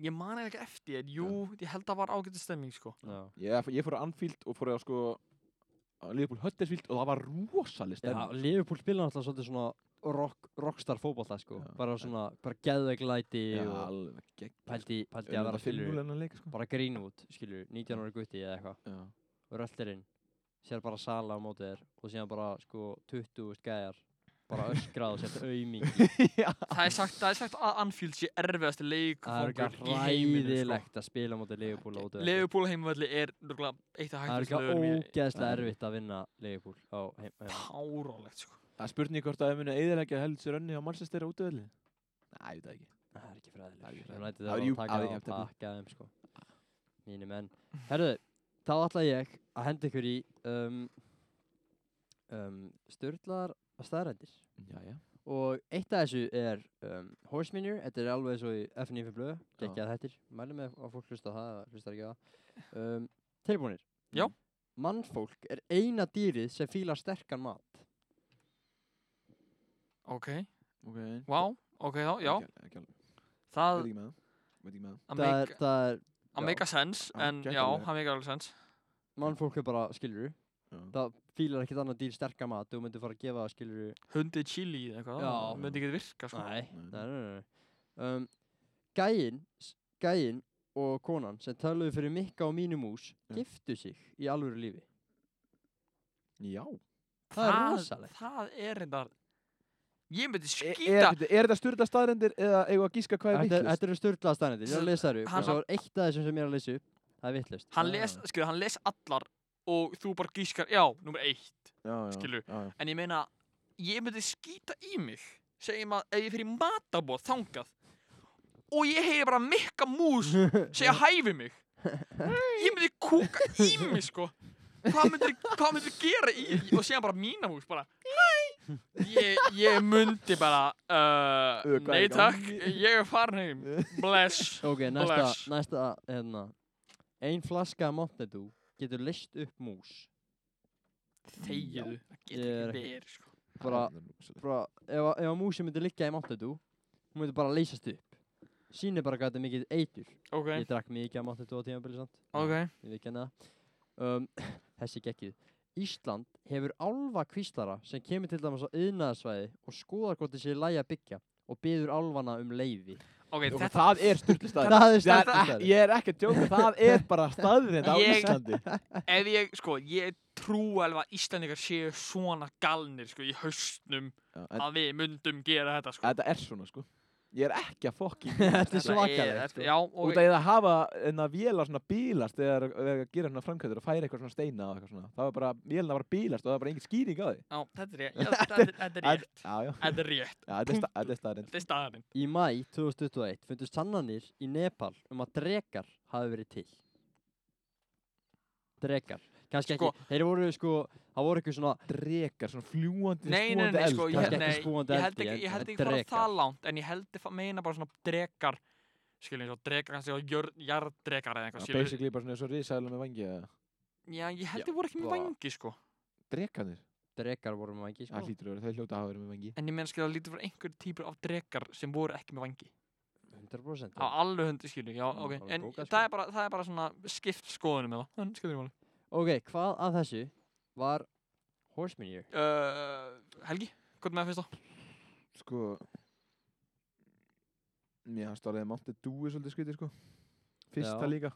[SPEAKER 3] ég man ekki eftir því, en jú, ég held að var ágættu stemming, sko.
[SPEAKER 2] Já.
[SPEAKER 4] Ég, ég fór á Anfield og fór á sko á Liverpool Huddersfield og það var rosalig
[SPEAKER 2] Já,
[SPEAKER 4] stemning
[SPEAKER 2] Liverpool spila náttúrulega svolítið svona rock, rockstar fótbolta sko,
[SPEAKER 4] Já.
[SPEAKER 2] bara svona, bara geðveik læti og
[SPEAKER 4] alveg gegn
[SPEAKER 2] pældi, pældi að vera skilur,
[SPEAKER 4] Finnúlennan leik sko
[SPEAKER 2] bara grínút, skilur, 19 ára gutti eða eitthvað,
[SPEAKER 4] Já
[SPEAKER 2] og röllir inn, sér bara sala á mótið þér og síðan bara sko 20 skæjar, bara öskrað og sett aumingi,
[SPEAKER 4] Já
[SPEAKER 3] Það er sagt, það er sagt að Anfield sé erfiðasti
[SPEAKER 2] það er
[SPEAKER 3] leikfangur
[SPEAKER 2] eitthvað
[SPEAKER 3] í heiminum,
[SPEAKER 2] ræðilegt að spila á mótið Liverpool á
[SPEAKER 3] sko.
[SPEAKER 2] mótið þetta.
[SPEAKER 3] Leifupúl heimavalli er nörgulega eitt af
[SPEAKER 2] Það er
[SPEAKER 3] hægtast
[SPEAKER 2] eitthvað
[SPEAKER 3] lögur mér.
[SPEAKER 2] ógeðslega
[SPEAKER 4] Já.
[SPEAKER 2] erfitt að vinna Liverpool á heim, heim.
[SPEAKER 3] Párálegt, sko.
[SPEAKER 4] Það er spurning hvort að þau muni eðilegja held sér önni á Manchester á útöðli? Nei, ég veit það ekki.
[SPEAKER 2] Það er ekki
[SPEAKER 4] Það er ekki
[SPEAKER 2] fræðilegur.
[SPEAKER 4] fræðilegt.
[SPEAKER 2] United er
[SPEAKER 4] Það er
[SPEAKER 2] bara
[SPEAKER 4] jú-
[SPEAKER 2] að taka
[SPEAKER 4] það
[SPEAKER 2] það og
[SPEAKER 4] er ekki eftir því.
[SPEAKER 2] pakka þeim sko. Mínu menn. Herðu, þá ætla ég að henda ykkur í um, um, störtlar staðrættir.
[SPEAKER 4] Já, já.
[SPEAKER 2] Og eitt af þessu er um, Horsemanir, þetta er alveg svo í FNF blöðu, geggjað hættir. Mælum með að fólk hlusta á það, eða hlustar ekki á það. Um, tilbúinir.
[SPEAKER 3] Já.
[SPEAKER 2] Mannfólk er eina dýrið sem fílar sterkan mat.
[SPEAKER 3] Ok,
[SPEAKER 4] Ok.
[SPEAKER 3] wow, ok þá, já,
[SPEAKER 4] Ekki, ekki alveg. Veit
[SPEAKER 3] það,
[SPEAKER 4] ekki með það. Veit ekki með það.
[SPEAKER 3] að
[SPEAKER 2] Það er,
[SPEAKER 3] make-
[SPEAKER 2] það er,
[SPEAKER 3] að make a sense,
[SPEAKER 4] Já,
[SPEAKER 3] en
[SPEAKER 4] gæti
[SPEAKER 3] já,
[SPEAKER 4] alveg.
[SPEAKER 3] það make alveg sense.
[SPEAKER 2] mannfólk er bara, skilur,
[SPEAKER 4] Já.
[SPEAKER 2] það fílar ekkert annað dýr sterkan mat, þú myndir fara að gefa það, skilur,
[SPEAKER 3] Hundið chili eða eitthvað,
[SPEAKER 2] Já.
[SPEAKER 3] það myndi ekki virka, sko.
[SPEAKER 2] Nei,
[SPEAKER 4] Nei.
[SPEAKER 2] nei, nei, nei. Um, gæin, s- gæin og konan sem taluðu fyrir Mikka og mínu mús
[SPEAKER 4] Já.
[SPEAKER 2] giftu sig í alvöru lífi.
[SPEAKER 4] Já.
[SPEAKER 2] Það er rosalegt. E-
[SPEAKER 3] Það er reyndar, ég myndi
[SPEAKER 4] Er,
[SPEAKER 3] skýta
[SPEAKER 4] E- er, bíddu, er þetta styrla staðrendir eða eigum við að gíska hvað er
[SPEAKER 2] Þetta er-
[SPEAKER 4] vittlust?
[SPEAKER 2] þetta eru störtlaða stannendir, ég er að lesa þær upp
[SPEAKER 3] Hann-
[SPEAKER 2] og svo er eitt af þessum sem ég er að lesa upp, það er vittlust.
[SPEAKER 3] hann
[SPEAKER 4] Já.
[SPEAKER 3] les, skilur, hann les allar og þú bara gískar, já, nummer eitt
[SPEAKER 4] Já, já.
[SPEAKER 3] skilur.
[SPEAKER 4] Já, já.
[SPEAKER 3] en ég meina, ég myndi skýta í mig segjum að ef ég fyrir matabóð þangað og ég heyri bara mikka mús segja hæfi mig ég myndi kúka í mig sko hvað myndir, hvað myndir gera í og segja bara mína mús bara hæ ég, ég myndi bara uh,
[SPEAKER 4] Ö, hvað er
[SPEAKER 3] nei
[SPEAKER 4] í
[SPEAKER 3] takk
[SPEAKER 4] gangi?
[SPEAKER 3] ég er farin heim bless
[SPEAKER 2] Ok, næsta,
[SPEAKER 3] Bless.
[SPEAKER 2] næsta, hérna Ein flaska Montedu getur list upp mús
[SPEAKER 3] þegiðu það
[SPEAKER 2] Ég
[SPEAKER 3] getur
[SPEAKER 2] er
[SPEAKER 3] ekki
[SPEAKER 2] ekki-
[SPEAKER 3] verið sko
[SPEAKER 2] Bara,
[SPEAKER 4] Það er rosalegt.
[SPEAKER 2] bara ef, að- ef að músin myndi liggja í Montedu hún myndi bara leysast upp Sýnir bara hvað þetta er mikið eitur
[SPEAKER 3] ok,
[SPEAKER 2] Ég drakk mikið af Montedu á tímabili samt
[SPEAKER 3] ok
[SPEAKER 2] Ég veit kenna það um, Þessi gekkið Ísland hefur álva kvíslara sem kemur til dæmis á yðnaðarsvæði og skoðar hvort þessi lægi að byggja og byður álvana um leiði
[SPEAKER 3] ok,
[SPEAKER 4] Ok,
[SPEAKER 3] þetta
[SPEAKER 4] Það er styrkli staður
[SPEAKER 2] Það er
[SPEAKER 4] Það
[SPEAKER 2] stærsta
[SPEAKER 4] er- Ég er ekki að tjóka, það er bara staðrind á
[SPEAKER 3] Ég-
[SPEAKER 4] Íslandi
[SPEAKER 3] ef ég, sko, ég trú alveg að Íslandingar séu svona galnir, sko, í haustnum
[SPEAKER 4] Já, en-
[SPEAKER 3] að við myndum gera þetta, sko.
[SPEAKER 4] Þetta er svona sko Ég er ekki að fokki
[SPEAKER 2] Þetta er
[SPEAKER 3] Þetta
[SPEAKER 2] svakalegt
[SPEAKER 3] þetta-
[SPEAKER 2] sko.
[SPEAKER 3] Já,
[SPEAKER 4] Út
[SPEAKER 3] og
[SPEAKER 4] af því að hafa en að vélar svona bílast þegar þegar að gera svona framkvæmdur og færa eitthvað svona steina og eitthvað svona. Það var bara, vélina var bílast og það var bara engin skýring á því.
[SPEAKER 3] já, þetta er rétt. Já, þetta er- þetta er rétt.
[SPEAKER 4] Já, já.
[SPEAKER 3] Þetta er rétt.
[SPEAKER 4] Já, þetta er sta- þetta er staðrind.
[SPEAKER 3] Þetta er staðarinn.
[SPEAKER 2] Í mæ 2021 fundust sannanir í Nepal um að drekar hafi verið til. Drekar. Kannski ekki,
[SPEAKER 3] Sko-
[SPEAKER 2] þeir voru sko, það voru eitthvað svona,
[SPEAKER 4] Drekar, svona fljúandi,
[SPEAKER 3] Nei, nei, nei, sko,
[SPEAKER 2] kannski
[SPEAKER 3] ég,
[SPEAKER 2] ekki
[SPEAKER 3] nei,
[SPEAKER 2] spúandi
[SPEAKER 3] ég held
[SPEAKER 2] eldi,
[SPEAKER 3] ekki,
[SPEAKER 2] en-
[SPEAKER 3] ég held
[SPEAKER 2] en
[SPEAKER 3] ekki fara
[SPEAKER 2] drekar.
[SPEAKER 3] það langt, en ég held að meina bara svona drekar, skiljum, svo drekar kannski á jörð- jarðdrekar eða eitthvað,
[SPEAKER 4] Já,
[SPEAKER 3] skiljum.
[SPEAKER 4] basically bara svona svo risæðlega með vangi eða
[SPEAKER 3] Já, ég held
[SPEAKER 2] Já,
[SPEAKER 3] ég voru ekki með
[SPEAKER 2] bara-
[SPEAKER 3] vangi, sko.
[SPEAKER 4] drekanir.
[SPEAKER 2] Drekar voru með ekki, sko.
[SPEAKER 4] Það hlýtur að vera, þau hljóta að hafa verið með vangi.
[SPEAKER 3] En ég menn, skiljum, lítið fyrir einhver típur af drekar sem voru ekki með vangi.
[SPEAKER 2] 100%.
[SPEAKER 3] á alveg hundi skilu, já,
[SPEAKER 2] Já,
[SPEAKER 3] ok
[SPEAKER 2] bara
[SPEAKER 3] en
[SPEAKER 2] bókað,
[SPEAKER 3] það
[SPEAKER 2] sko.
[SPEAKER 3] er, bara, það er bara svona skipt skoðunum eða, en skilur ég máli
[SPEAKER 2] Ok, hvað af þessu var Horseman Year?
[SPEAKER 3] uh, Helgi, hvað er með fyrst á?
[SPEAKER 4] Sko, mér hans stálega Monte Dúi svolítið skrítið, sko. Fyrsta
[SPEAKER 2] Já.
[SPEAKER 4] líka.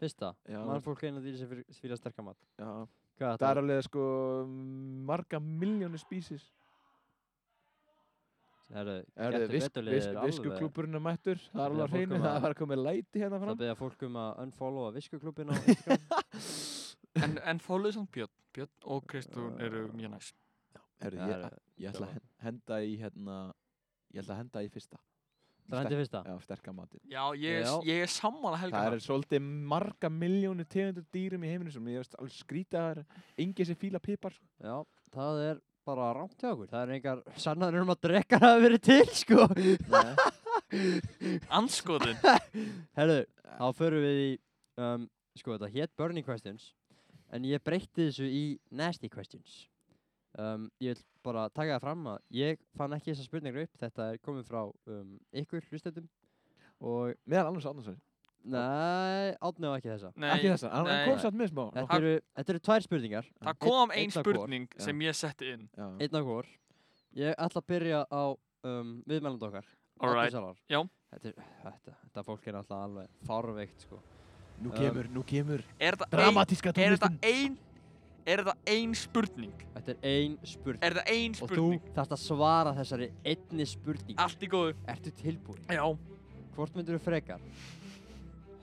[SPEAKER 2] Fyrsta,
[SPEAKER 4] Já,
[SPEAKER 2] mann fólk einu dýri sem fyrir- fíla sterkar mat.
[SPEAKER 4] Já,
[SPEAKER 2] Hvað
[SPEAKER 4] það
[SPEAKER 2] þetta
[SPEAKER 4] er
[SPEAKER 2] var?
[SPEAKER 4] alveg, sko, marga miljónu spísis.
[SPEAKER 2] Herru,
[SPEAKER 4] Erðu,
[SPEAKER 2] getur veturliðið er alveg.
[SPEAKER 4] viskuklúburinn er mættur, það
[SPEAKER 2] Við
[SPEAKER 4] er alveg
[SPEAKER 2] erum
[SPEAKER 4] að hreinu,
[SPEAKER 2] fólk um
[SPEAKER 4] það
[SPEAKER 2] að-
[SPEAKER 4] var komið læti hérna
[SPEAKER 2] Það
[SPEAKER 4] fram.
[SPEAKER 2] beða fólk um að unfollowa viskuklubin á Instagram.
[SPEAKER 3] En, en fólið samt Björn, Björn og Kristún eru mjög næs
[SPEAKER 4] Erðu,
[SPEAKER 2] Það
[SPEAKER 4] ég,
[SPEAKER 2] er-
[SPEAKER 4] ég ætla að hen- henda í hérna, ég ætla að henda í fyrsta.
[SPEAKER 2] það hendi fyrsta.
[SPEAKER 4] Já, sterka matinn.
[SPEAKER 3] Já, ég, já.
[SPEAKER 2] Já.
[SPEAKER 3] ég er sammála Helga
[SPEAKER 4] Það
[SPEAKER 3] þar.
[SPEAKER 4] er svolítið marga miljónu tegundur dýrum í heiminu sem ég veist alveg skrýta að það er engið sem fíla pipar. Sko.
[SPEAKER 2] Já, það er bara rámt hjá okkur. Það er engar sannanir um að drekkar hafi verið til, sko.
[SPEAKER 3] Andskotin,
[SPEAKER 2] Herðu, þá förum við í, um, sko, þetta hétt Burning Questions, en ég breytti þessu í Nasty Questions. Um, ég vil bara taka það fram að ég fann ekki þessa spurningar upp, þetta er komið frá um, ykkur hlustendum og,
[SPEAKER 4] Meðal annars Andersson.
[SPEAKER 2] nei, átnið var ekki þessa.
[SPEAKER 3] nei,
[SPEAKER 4] Ekki þessa, hann hann
[SPEAKER 3] nei.
[SPEAKER 4] kom satt með smá.
[SPEAKER 2] Þetta eru, þetta eru tvær spurningar,
[SPEAKER 3] það kom
[SPEAKER 2] Einn-
[SPEAKER 3] ein
[SPEAKER 2] einn af hvor,
[SPEAKER 3] spurning
[SPEAKER 4] já.
[SPEAKER 3] sem ég setti inn
[SPEAKER 4] Já.
[SPEAKER 2] einn af hvort. Ég ætla að byrja á um, viðmælandi okkar. Allir
[SPEAKER 3] Alright,
[SPEAKER 2] sálar.
[SPEAKER 3] Já.
[SPEAKER 2] Þetta, er- þetta, þetta fólk er alltaf alveg fárveikt sko.
[SPEAKER 4] Nú
[SPEAKER 2] Um,
[SPEAKER 4] kemur, nú kemur.
[SPEAKER 3] er þetta ein,
[SPEAKER 4] Dramatíska
[SPEAKER 3] er þetta
[SPEAKER 4] tónlistin.
[SPEAKER 3] ein Er þetta ein spurning?
[SPEAKER 2] Þetta er ein spurning.
[SPEAKER 3] Er þetta ein
[SPEAKER 2] og þú
[SPEAKER 3] spurning? Ah.
[SPEAKER 2] þarft að svara þessari einni spurning.
[SPEAKER 3] Allt í góðu
[SPEAKER 2] Ertu tilbúin?
[SPEAKER 3] Já,
[SPEAKER 2] Hvort myndur þú frekar?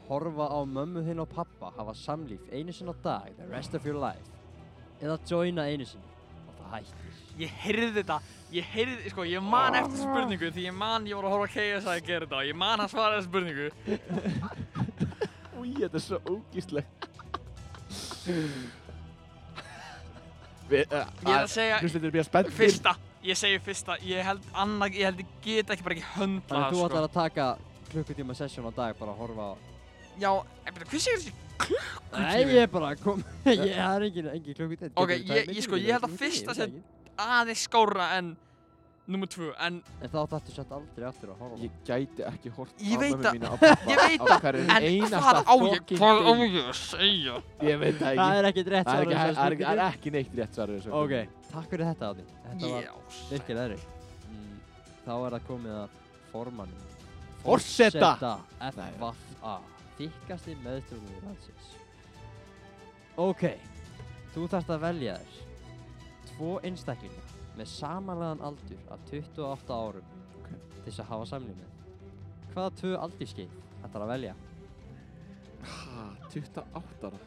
[SPEAKER 2] Horfa á mömmu þinn og pappa hafa samlíf einu sinni á dag the rest of your life eða joina einu sinni og það hættir.
[SPEAKER 3] ég heyrði þetta ég heyrði, sko, ég man eftir spurningu því ég man, ég voru að horfa að kegja að gera þetta og ég man að svara þessu spurningu
[SPEAKER 4] Úi, þetta er svo ógíslegt. Við, uh,
[SPEAKER 3] ég er að segja
[SPEAKER 4] Hlustendur er býða spennt.
[SPEAKER 3] fyrsta, ég segi fyrsta ég held annað, ég held ég get ekki bara ekki höndla
[SPEAKER 2] Þannig að þú
[SPEAKER 3] það,
[SPEAKER 2] ætlar að taka klukkutíma session á dag bara að horfa á
[SPEAKER 3] sko já, en betur, hvað segir þessi
[SPEAKER 2] Nei,
[SPEAKER 3] klukkutími
[SPEAKER 2] ég er bara kom ég það er engin, engin klukkutíma
[SPEAKER 3] Eh. Ok,
[SPEAKER 2] Getur þú
[SPEAKER 3] ég-
[SPEAKER 2] tvær
[SPEAKER 3] ég sko,
[SPEAKER 2] myndir?
[SPEAKER 3] ég held að
[SPEAKER 2] Klukkutími,
[SPEAKER 3] fyrsta
[SPEAKER 2] veit það
[SPEAKER 3] sem-
[SPEAKER 2] ekki.
[SPEAKER 3] aðeins skóra en nummer tvö, en
[SPEAKER 2] En þá þarftu samt aldrei aftur að horfa á
[SPEAKER 4] Ég gæti ekki hort
[SPEAKER 3] Ég veit
[SPEAKER 4] á
[SPEAKER 3] það.
[SPEAKER 4] mömmu mína á pappa.
[SPEAKER 3] Ég veit
[SPEAKER 4] á
[SPEAKER 3] það.
[SPEAKER 4] hverjum
[SPEAKER 3] en
[SPEAKER 4] einasta
[SPEAKER 3] hvað á ég,
[SPEAKER 4] fucking
[SPEAKER 3] hvað á
[SPEAKER 4] degi.
[SPEAKER 3] ég að segja
[SPEAKER 4] Ég veit það
[SPEAKER 2] Það
[SPEAKER 4] ekki.
[SPEAKER 2] er ekkert rétt
[SPEAKER 4] Það er
[SPEAKER 2] svar
[SPEAKER 4] ekki-
[SPEAKER 2] á
[SPEAKER 4] það
[SPEAKER 2] þessari
[SPEAKER 4] er ekki- það
[SPEAKER 2] spurningu.
[SPEAKER 4] er ekki neitt rétt svarið. þessu.
[SPEAKER 2] Ok, takk fyrir þetta Adi Þetta var
[SPEAKER 3] já,
[SPEAKER 2] virkilega erfitt mm, Þá er það komið að formann
[SPEAKER 4] Forseta! Nei.
[SPEAKER 2] FVA Þykkasti meðstjórnum landsins Ok Þú þarft að velja þér Tvo einstaklinga með samanlegan aldur af 28 árum
[SPEAKER 4] Ok.
[SPEAKER 2] til þess að hafa samlínu Hvaða tvö aldurskeið ætlar að velja?
[SPEAKER 4] Ha, 28 ára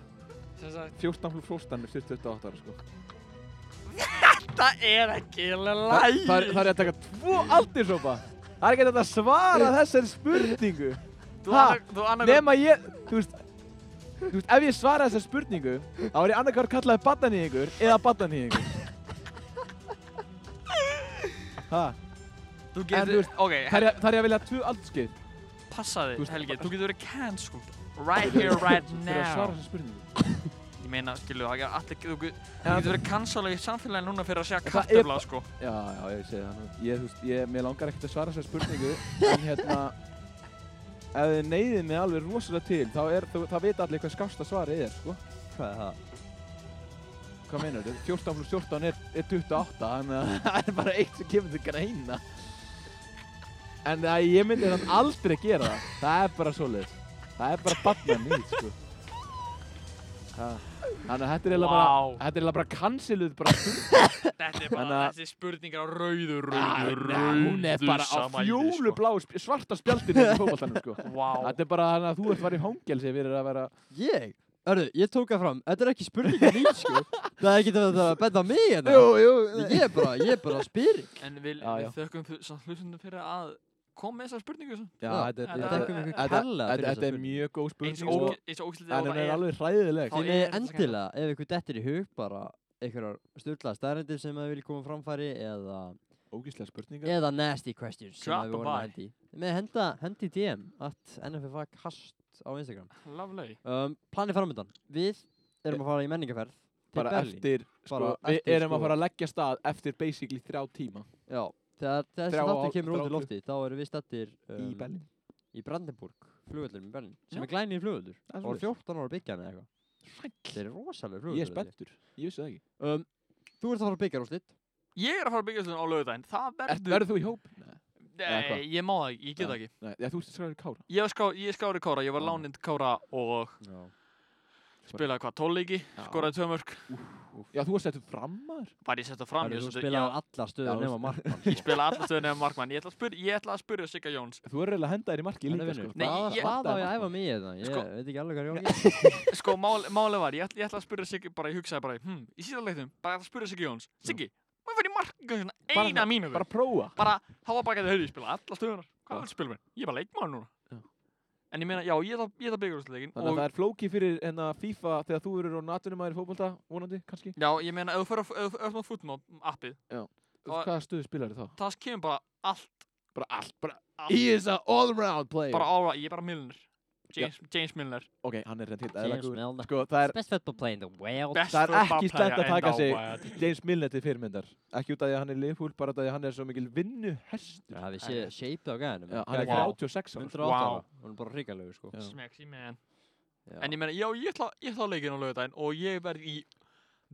[SPEAKER 3] sem sagt,
[SPEAKER 4] 14 flú fróstan er 28 ára sko
[SPEAKER 3] Þetta er ekki
[SPEAKER 4] Það,
[SPEAKER 3] læg
[SPEAKER 4] það, er- það er að taka tvo aldursópa Það er ekki hægt að svara þessari spurningu
[SPEAKER 3] Þú
[SPEAKER 4] Ha?
[SPEAKER 3] annað- þú annað
[SPEAKER 4] Nefn að ég, þú veist Þú veist, ef ég svara þessari spurningu þá er ég annarkar kallaði baddanýðingur eða baddanýðingur Ha,
[SPEAKER 3] Þú
[SPEAKER 4] En þú
[SPEAKER 3] getur,
[SPEAKER 4] veist,
[SPEAKER 3] ok,
[SPEAKER 4] það er ég- það er ég að vilja tvö aldurskeið
[SPEAKER 3] passa
[SPEAKER 4] þú
[SPEAKER 3] þig,
[SPEAKER 4] veist-
[SPEAKER 3] Helgi, þú getur verið cancelled Right here, right
[SPEAKER 4] Fyrir að svara
[SPEAKER 3] now
[SPEAKER 4] þessari spurningu
[SPEAKER 3] Ég meina, skilu, það er allir, þú get- þú
[SPEAKER 4] En-
[SPEAKER 3] getur verið cancelled í samfélagi núna fyrir að segja
[SPEAKER 4] Það er-
[SPEAKER 3] kartöfla, sko
[SPEAKER 4] Já, já, ég segi það nú. Ég, þú veist, ég, mér langar ekkert að svara þessari spurningu En hérna Ef þið neyðið mig alveg rosalega til þá er, þú, það veit allir hvað skásta svarið er, sko
[SPEAKER 2] Hvað er það?
[SPEAKER 4] Hvað meinar þetta? 14 pluss 14 er, er 28, þannig að það er bara eitt sem kemur til greina. En það, ég myndi þannig aldrei gera það. Það er bara svoleiðis. Það er bara barna nýtt, sko. Ha. Þannig að þetta er eiginlega bara,
[SPEAKER 3] Vá.
[SPEAKER 4] þetta er eiginlega bara canceluð bara spurning.
[SPEAKER 3] Þetta er
[SPEAKER 4] Þannig
[SPEAKER 3] bara,
[SPEAKER 4] að-
[SPEAKER 3] þessi spurning er á rauðu, rauðu,
[SPEAKER 4] Ah, nei,
[SPEAKER 3] rauðu
[SPEAKER 4] Hún er bara á
[SPEAKER 3] samæli, sko.
[SPEAKER 4] fjólublá svarta spjaldinu í fólkvallanum, sko.
[SPEAKER 3] Vá,
[SPEAKER 4] Þetta er bara þannig að þú ert farið í hóngelsi fyrir að vera...
[SPEAKER 2] Ég? Örðu, ég tók það fram, þetta er ekki spurninga mín sko Það er ekki það að benda á mig hérna
[SPEAKER 4] jú.
[SPEAKER 2] Ég er bara, ég er bara að spyrir
[SPEAKER 3] en við,
[SPEAKER 4] Já, já.
[SPEAKER 3] við þökkum fu- samt hlustundum fyrir að koma með þessar spurningu svo
[SPEAKER 4] Já,
[SPEAKER 2] Já,
[SPEAKER 4] þetta
[SPEAKER 3] þetta
[SPEAKER 2] Þetta er
[SPEAKER 4] þetta-
[SPEAKER 2] ekki einhver
[SPEAKER 4] þetta-
[SPEAKER 2] kella
[SPEAKER 4] þetta- þetta er mjög góð
[SPEAKER 3] eins
[SPEAKER 4] spurning, sko.
[SPEAKER 3] og ógæslega
[SPEAKER 4] En hún er alveg hræðileg.
[SPEAKER 3] Þá
[SPEAKER 2] Því
[SPEAKER 3] er
[SPEAKER 2] með
[SPEAKER 3] þetta
[SPEAKER 2] endilega, ef ykkur dettir í hug bara einhverjar styrla staðrendir sem að vilja koma á framfæri eða,
[SPEAKER 4] Ógíslega spurningar.
[SPEAKER 2] eða nasty questions sem
[SPEAKER 3] Drop
[SPEAKER 2] að
[SPEAKER 3] a
[SPEAKER 2] við vorum
[SPEAKER 3] buy.
[SPEAKER 2] að hendi með henda, hendi DM at nffkast á Instagram
[SPEAKER 3] Lovely
[SPEAKER 2] um, planið framöndan, við erum að fara í menningarferð til
[SPEAKER 4] bara
[SPEAKER 2] Berlín
[SPEAKER 4] eftir, sko,
[SPEAKER 2] Bara
[SPEAKER 4] við
[SPEAKER 2] eftir,
[SPEAKER 4] erum
[SPEAKER 2] sko-
[SPEAKER 4] að fara að leggja stað eftir basically þrjá tíma
[SPEAKER 2] Já, þegar þessi
[SPEAKER 4] Þrjá
[SPEAKER 2] þáttur
[SPEAKER 4] ár-
[SPEAKER 2] kemur út
[SPEAKER 4] þrjá
[SPEAKER 2] í lofti þá erum við stattir um,
[SPEAKER 4] Berlín
[SPEAKER 2] í Brandenburg, flugvöllurinn í Berlín sem
[SPEAKER 3] Já.
[SPEAKER 2] er glænir flugvöllur
[SPEAKER 4] Það er
[SPEAKER 2] og er
[SPEAKER 4] svoleiðis.
[SPEAKER 2] 14 ára byggjan eða eitthvað þeir eru rosalega flugvöllur
[SPEAKER 4] Ég er spenntur, ég vissi það ekki
[SPEAKER 2] um, Þú ert að fara að byggja rústitt
[SPEAKER 3] Ég er að fara að byggja á lögudaginn, það
[SPEAKER 4] Ert-
[SPEAKER 3] verður
[SPEAKER 4] Verður þú í hóp? Nei, eða hvað?
[SPEAKER 3] Nei, ég má það ekki, ég get
[SPEAKER 4] Já.
[SPEAKER 3] það ekki
[SPEAKER 4] Nei ja, þú ert skræður kára
[SPEAKER 3] Ég, var ská, ég skári Kára, ég var
[SPEAKER 4] Já.
[SPEAKER 3] lánind Kára og spilaði hvað, 12 leiki,
[SPEAKER 4] Já.
[SPEAKER 3] skoraði tvö mörk
[SPEAKER 4] Já, þú varst eftir frammar
[SPEAKER 3] Var ég setja fram, ég,
[SPEAKER 2] Þú
[SPEAKER 3] svolítið-
[SPEAKER 2] spilaði
[SPEAKER 3] já,
[SPEAKER 2] á alla sko. stöðu
[SPEAKER 4] Já,
[SPEAKER 2] nema markmann
[SPEAKER 3] ég spilaði alltaf stöðunni af markmann Ég ætla að spyrja, ég ætla að spyrja Sigga Jóns
[SPEAKER 4] Þú er reyðilega að henda þér í marki líka, sko
[SPEAKER 3] Nei,
[SPEAKER 2] Hvað
[SPEAKER 3] ég-
[SPEAKER 2] hvað á ég að æfa mig í þetta? Ég
[SPEAKER 3] Sko-
[SPEAKER 2] veit ekki alveg hvað ég á að gera
[SPEAKER 3] Sko, mál, máli var, ég ætla, ég ætla að spyrja Sigga bara, ég hugsaði bara, hm, í síðan leiknum bara ég ætla að spyrja Sigga Jóns, Siggi, maður fyrir markmann
[SPEAKER 4] Bara
[SPEAKER 3] eina
[SPEAKER 4] svona-
[SPEAKER 3] mínu
[SPEAKER 4] Bara prófa
[SPEAKER 3] bara, þá var bara að geta, heyrðu, ég spila alla stöðunar
[SPEAKER 4] Já.
[SPEAKER 3] hvað er spilum við? Ég er bara leikmaður núna
[SPEAKER 4] Já.
[SPEAKER 3] en ég meina, já, ég ætla- ég ætla að byggja úrsluleikin
[SPEAKER 4] Þannig að
[SPEAKER 3] og
[SPEAKER 4] það er flóki fyrir enna FIFA þegar þú eru á natunumæður í fótbolta, vonandi, kannski
[SPEAKER 3] já, ég meina, ef þú fyrir að öfna fútmót appið, Og-
[SPEAKER 4] Hvaða stöðu spilar þá?
[SPEAKER 3] það kemur bara allt,
[SPEAKER 4] Bara allt, bara
[SPEAKER 3] allt
[SPEAKER 4] He is an all-round player
[SPEAKER 3] bara ára, ég er bara Milner James, James Milner
[SPEAKER 4] Ok, hann er reynd hitt
[SPEAKER 2] James
[SPEAKER 4] eðlagur
[SPEAKER 2] Milner
[SPEAKER 4] Sko, það er
[SPEAKER 2] Best football player in the world
[SPEAKER 3] Best
[SPEAKER 4] það er
[SPEAKER 3] football
[SPEAKER 4] ekki slæmt
[SPEAKER 3] player
[SPEAKER 4] að
[SPEAKER 3] in
[SPEAKER 4] taka
[SPEAKER 3] the
[SPEAKER 4] sig-
[SPEAKER 3] world.
[SPEAKER 4] James Milner til fyrirmyndar ekki út af því að hann er Liverpool, bara út af því að hann er svo mikil vinnu hestur
[SPEAKER 2] Það við
[SPEAKER 3] Æ,
[SPEAKER 2] sé
[SPEAKER 3] já.
[SPEAKER 2] shape á gæðinu
[SPEAKER 4] Já, hann er
[SPEAKER 3] Wow.
[SPEAKER 4] 36 ára
[SPEAKER 3] Wow.
[SPEAKER 2] 108 ára Hún er bara hrikalegur sko
[SPEAKER 4] Já.
[SPEAKER 3] Smekks í meðan.
[SPEAKER 2] Já.
[SPEAKER 3] en ég meina, já, ég ætla, ég ætla að leikin á lögudaginn og ég verð í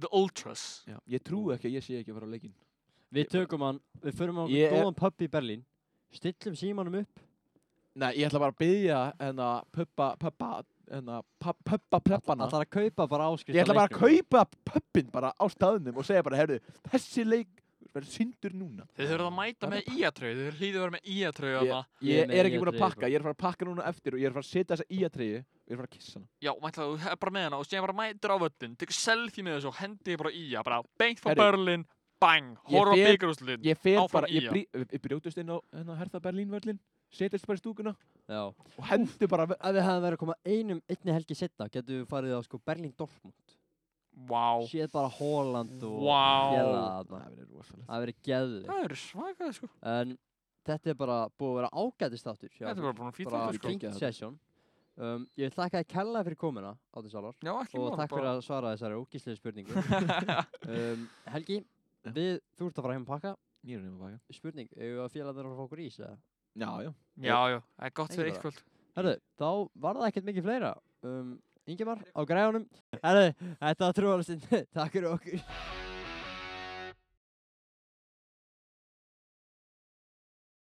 [SPEAKER 3] The Ultras
[SPEAKER 4] Já, ég trúi ekki að ég sé ekki að fara á leikinn
[SPEAKER 2] Við tökum hann, við förum á
[SPEAKER 4] Ég er-
[SPEAKER 2] góðan pub í Berlín Stillum símanum upp
[SPEAKER 4] Nei, ég ætla bara að hérna, byggja henn að puppa, puppa, henn að puppa hérna, preppana
[SPEAKER 2] Það er að kaupa bara áskrift
[SPEAKER 4] Ég ætla
[SPEAKER 2] af
[SPEAKER 4] bara að
[SPEAKER 2] leiknum.
[SPEAKER 4] kaupa puppin bara á staðnum og segja bara, heyrðu, þessi leik verður syndur núna
[SPEAKER 3] þið þurfum að mæta
[SPEAKER 4] Það er
[SPEAKER 3] með IA-tröð þið hlýðum að vera með IA-tröð
[SPEAKER 4] Ég, E
[SPEAKER 3] yeah.
[SPEAKER 2] Ég er
[SPEAKER 4] ég
[SPEAKER 2] með
[SPEAKER 4] er ekki búin að
[SPEAKER 2] ÍA-treyju,
[SPEAKER 4] pakka, ég er að fara að pakka núna eftir og ég er að fara að setja þessa íatreyju og ég er að fara að kissa hana
[SPEAKER 3] já, mætla, þú er bara með hana og séðan bara mætir á völlin tekur selfie með þessu og hendi bara í IA bara beint frá
[SPEAKER 4] Herri.
[SPEAKER 3] Berlin, bang, horfa
[SPEAKER 4] fer-
[SPEAKER 3] byggarúsluleikin
[SPEAKER 4] Ég fer
[SPEAKER 3] Áfram
[SPEAKER 4] bara, ég,
[SPEAKER 3] ÍA.
[SPEAKER 4] brí, ég brjótust inn á hérna, henn að herða Berlínvöllin setjast bara í stúkuna
[SPEAKER 2] Já
[SPEAKER 4] og hendur bara
[SPEAKER 2] Ef við hefðum verið að koma einum, einni helgi setna getum við farið á sko Berlín Dortmund
[SPEAKER 3] Vá,
[SPEAKER 2] Séð bara Holland og
[SPEAKER 3] Vá.
[SPEAKER 2] Fjalla þarna
[SPEAKER 4] Það verður rosalega
[SPEAKER 2] Það hefur verið geðið
[SPEAKER 3] það eru svakað sko
[SPEAKER 2] En þetta er bara búið að vera ágætist þáttur hjá
[SPEAKER 3] Þetta er
[SPEAKER 2] okkur.
[SPEAKER 3] bara búin að fýta
[SPEAKER 2] bara
[SPEAKER 4] þáttur,
[SPEAKER 3] þetta sko
[SPEAKER 4] geggjað
[SPEAKER 2] fínt
[SPEAKER 4] þáttur.
[SPEAKER 2] sesjón um, Ég vil þakka þér kella fyrir komuna á þess alvar
[SPEAKER 3] Já, ekki
[SPEAKER 2] og
[SPEAKER 3] mál
[SPEAKER 2] takk fyrir að svara þessari ógíslega spurningu um, Helgi,
[SPEAKER 4] Já.
[SPEAKER 2] við, þú ert að fara heim að pakka
[SPEAKER 4] Ég er nefn að baka
[SPEAKER 2] spurning, eigum við að félagarnir að fá okkur ís eða?
[SPEAKER 4] Já, já
[SPEAKER 3] Já, já, það er gott
[SPEAKER 2] Ekki
[SPEAKER 3] fyrir
[SPEAKER 2] bara.
[SPEAKER 3] eitthvað
[SPEAKER 2] Herðu, þá var það ekkert mikið fleira um, Ingemar á græjunum Herðu, þetta var trúarlustinn, takk fyrir okkur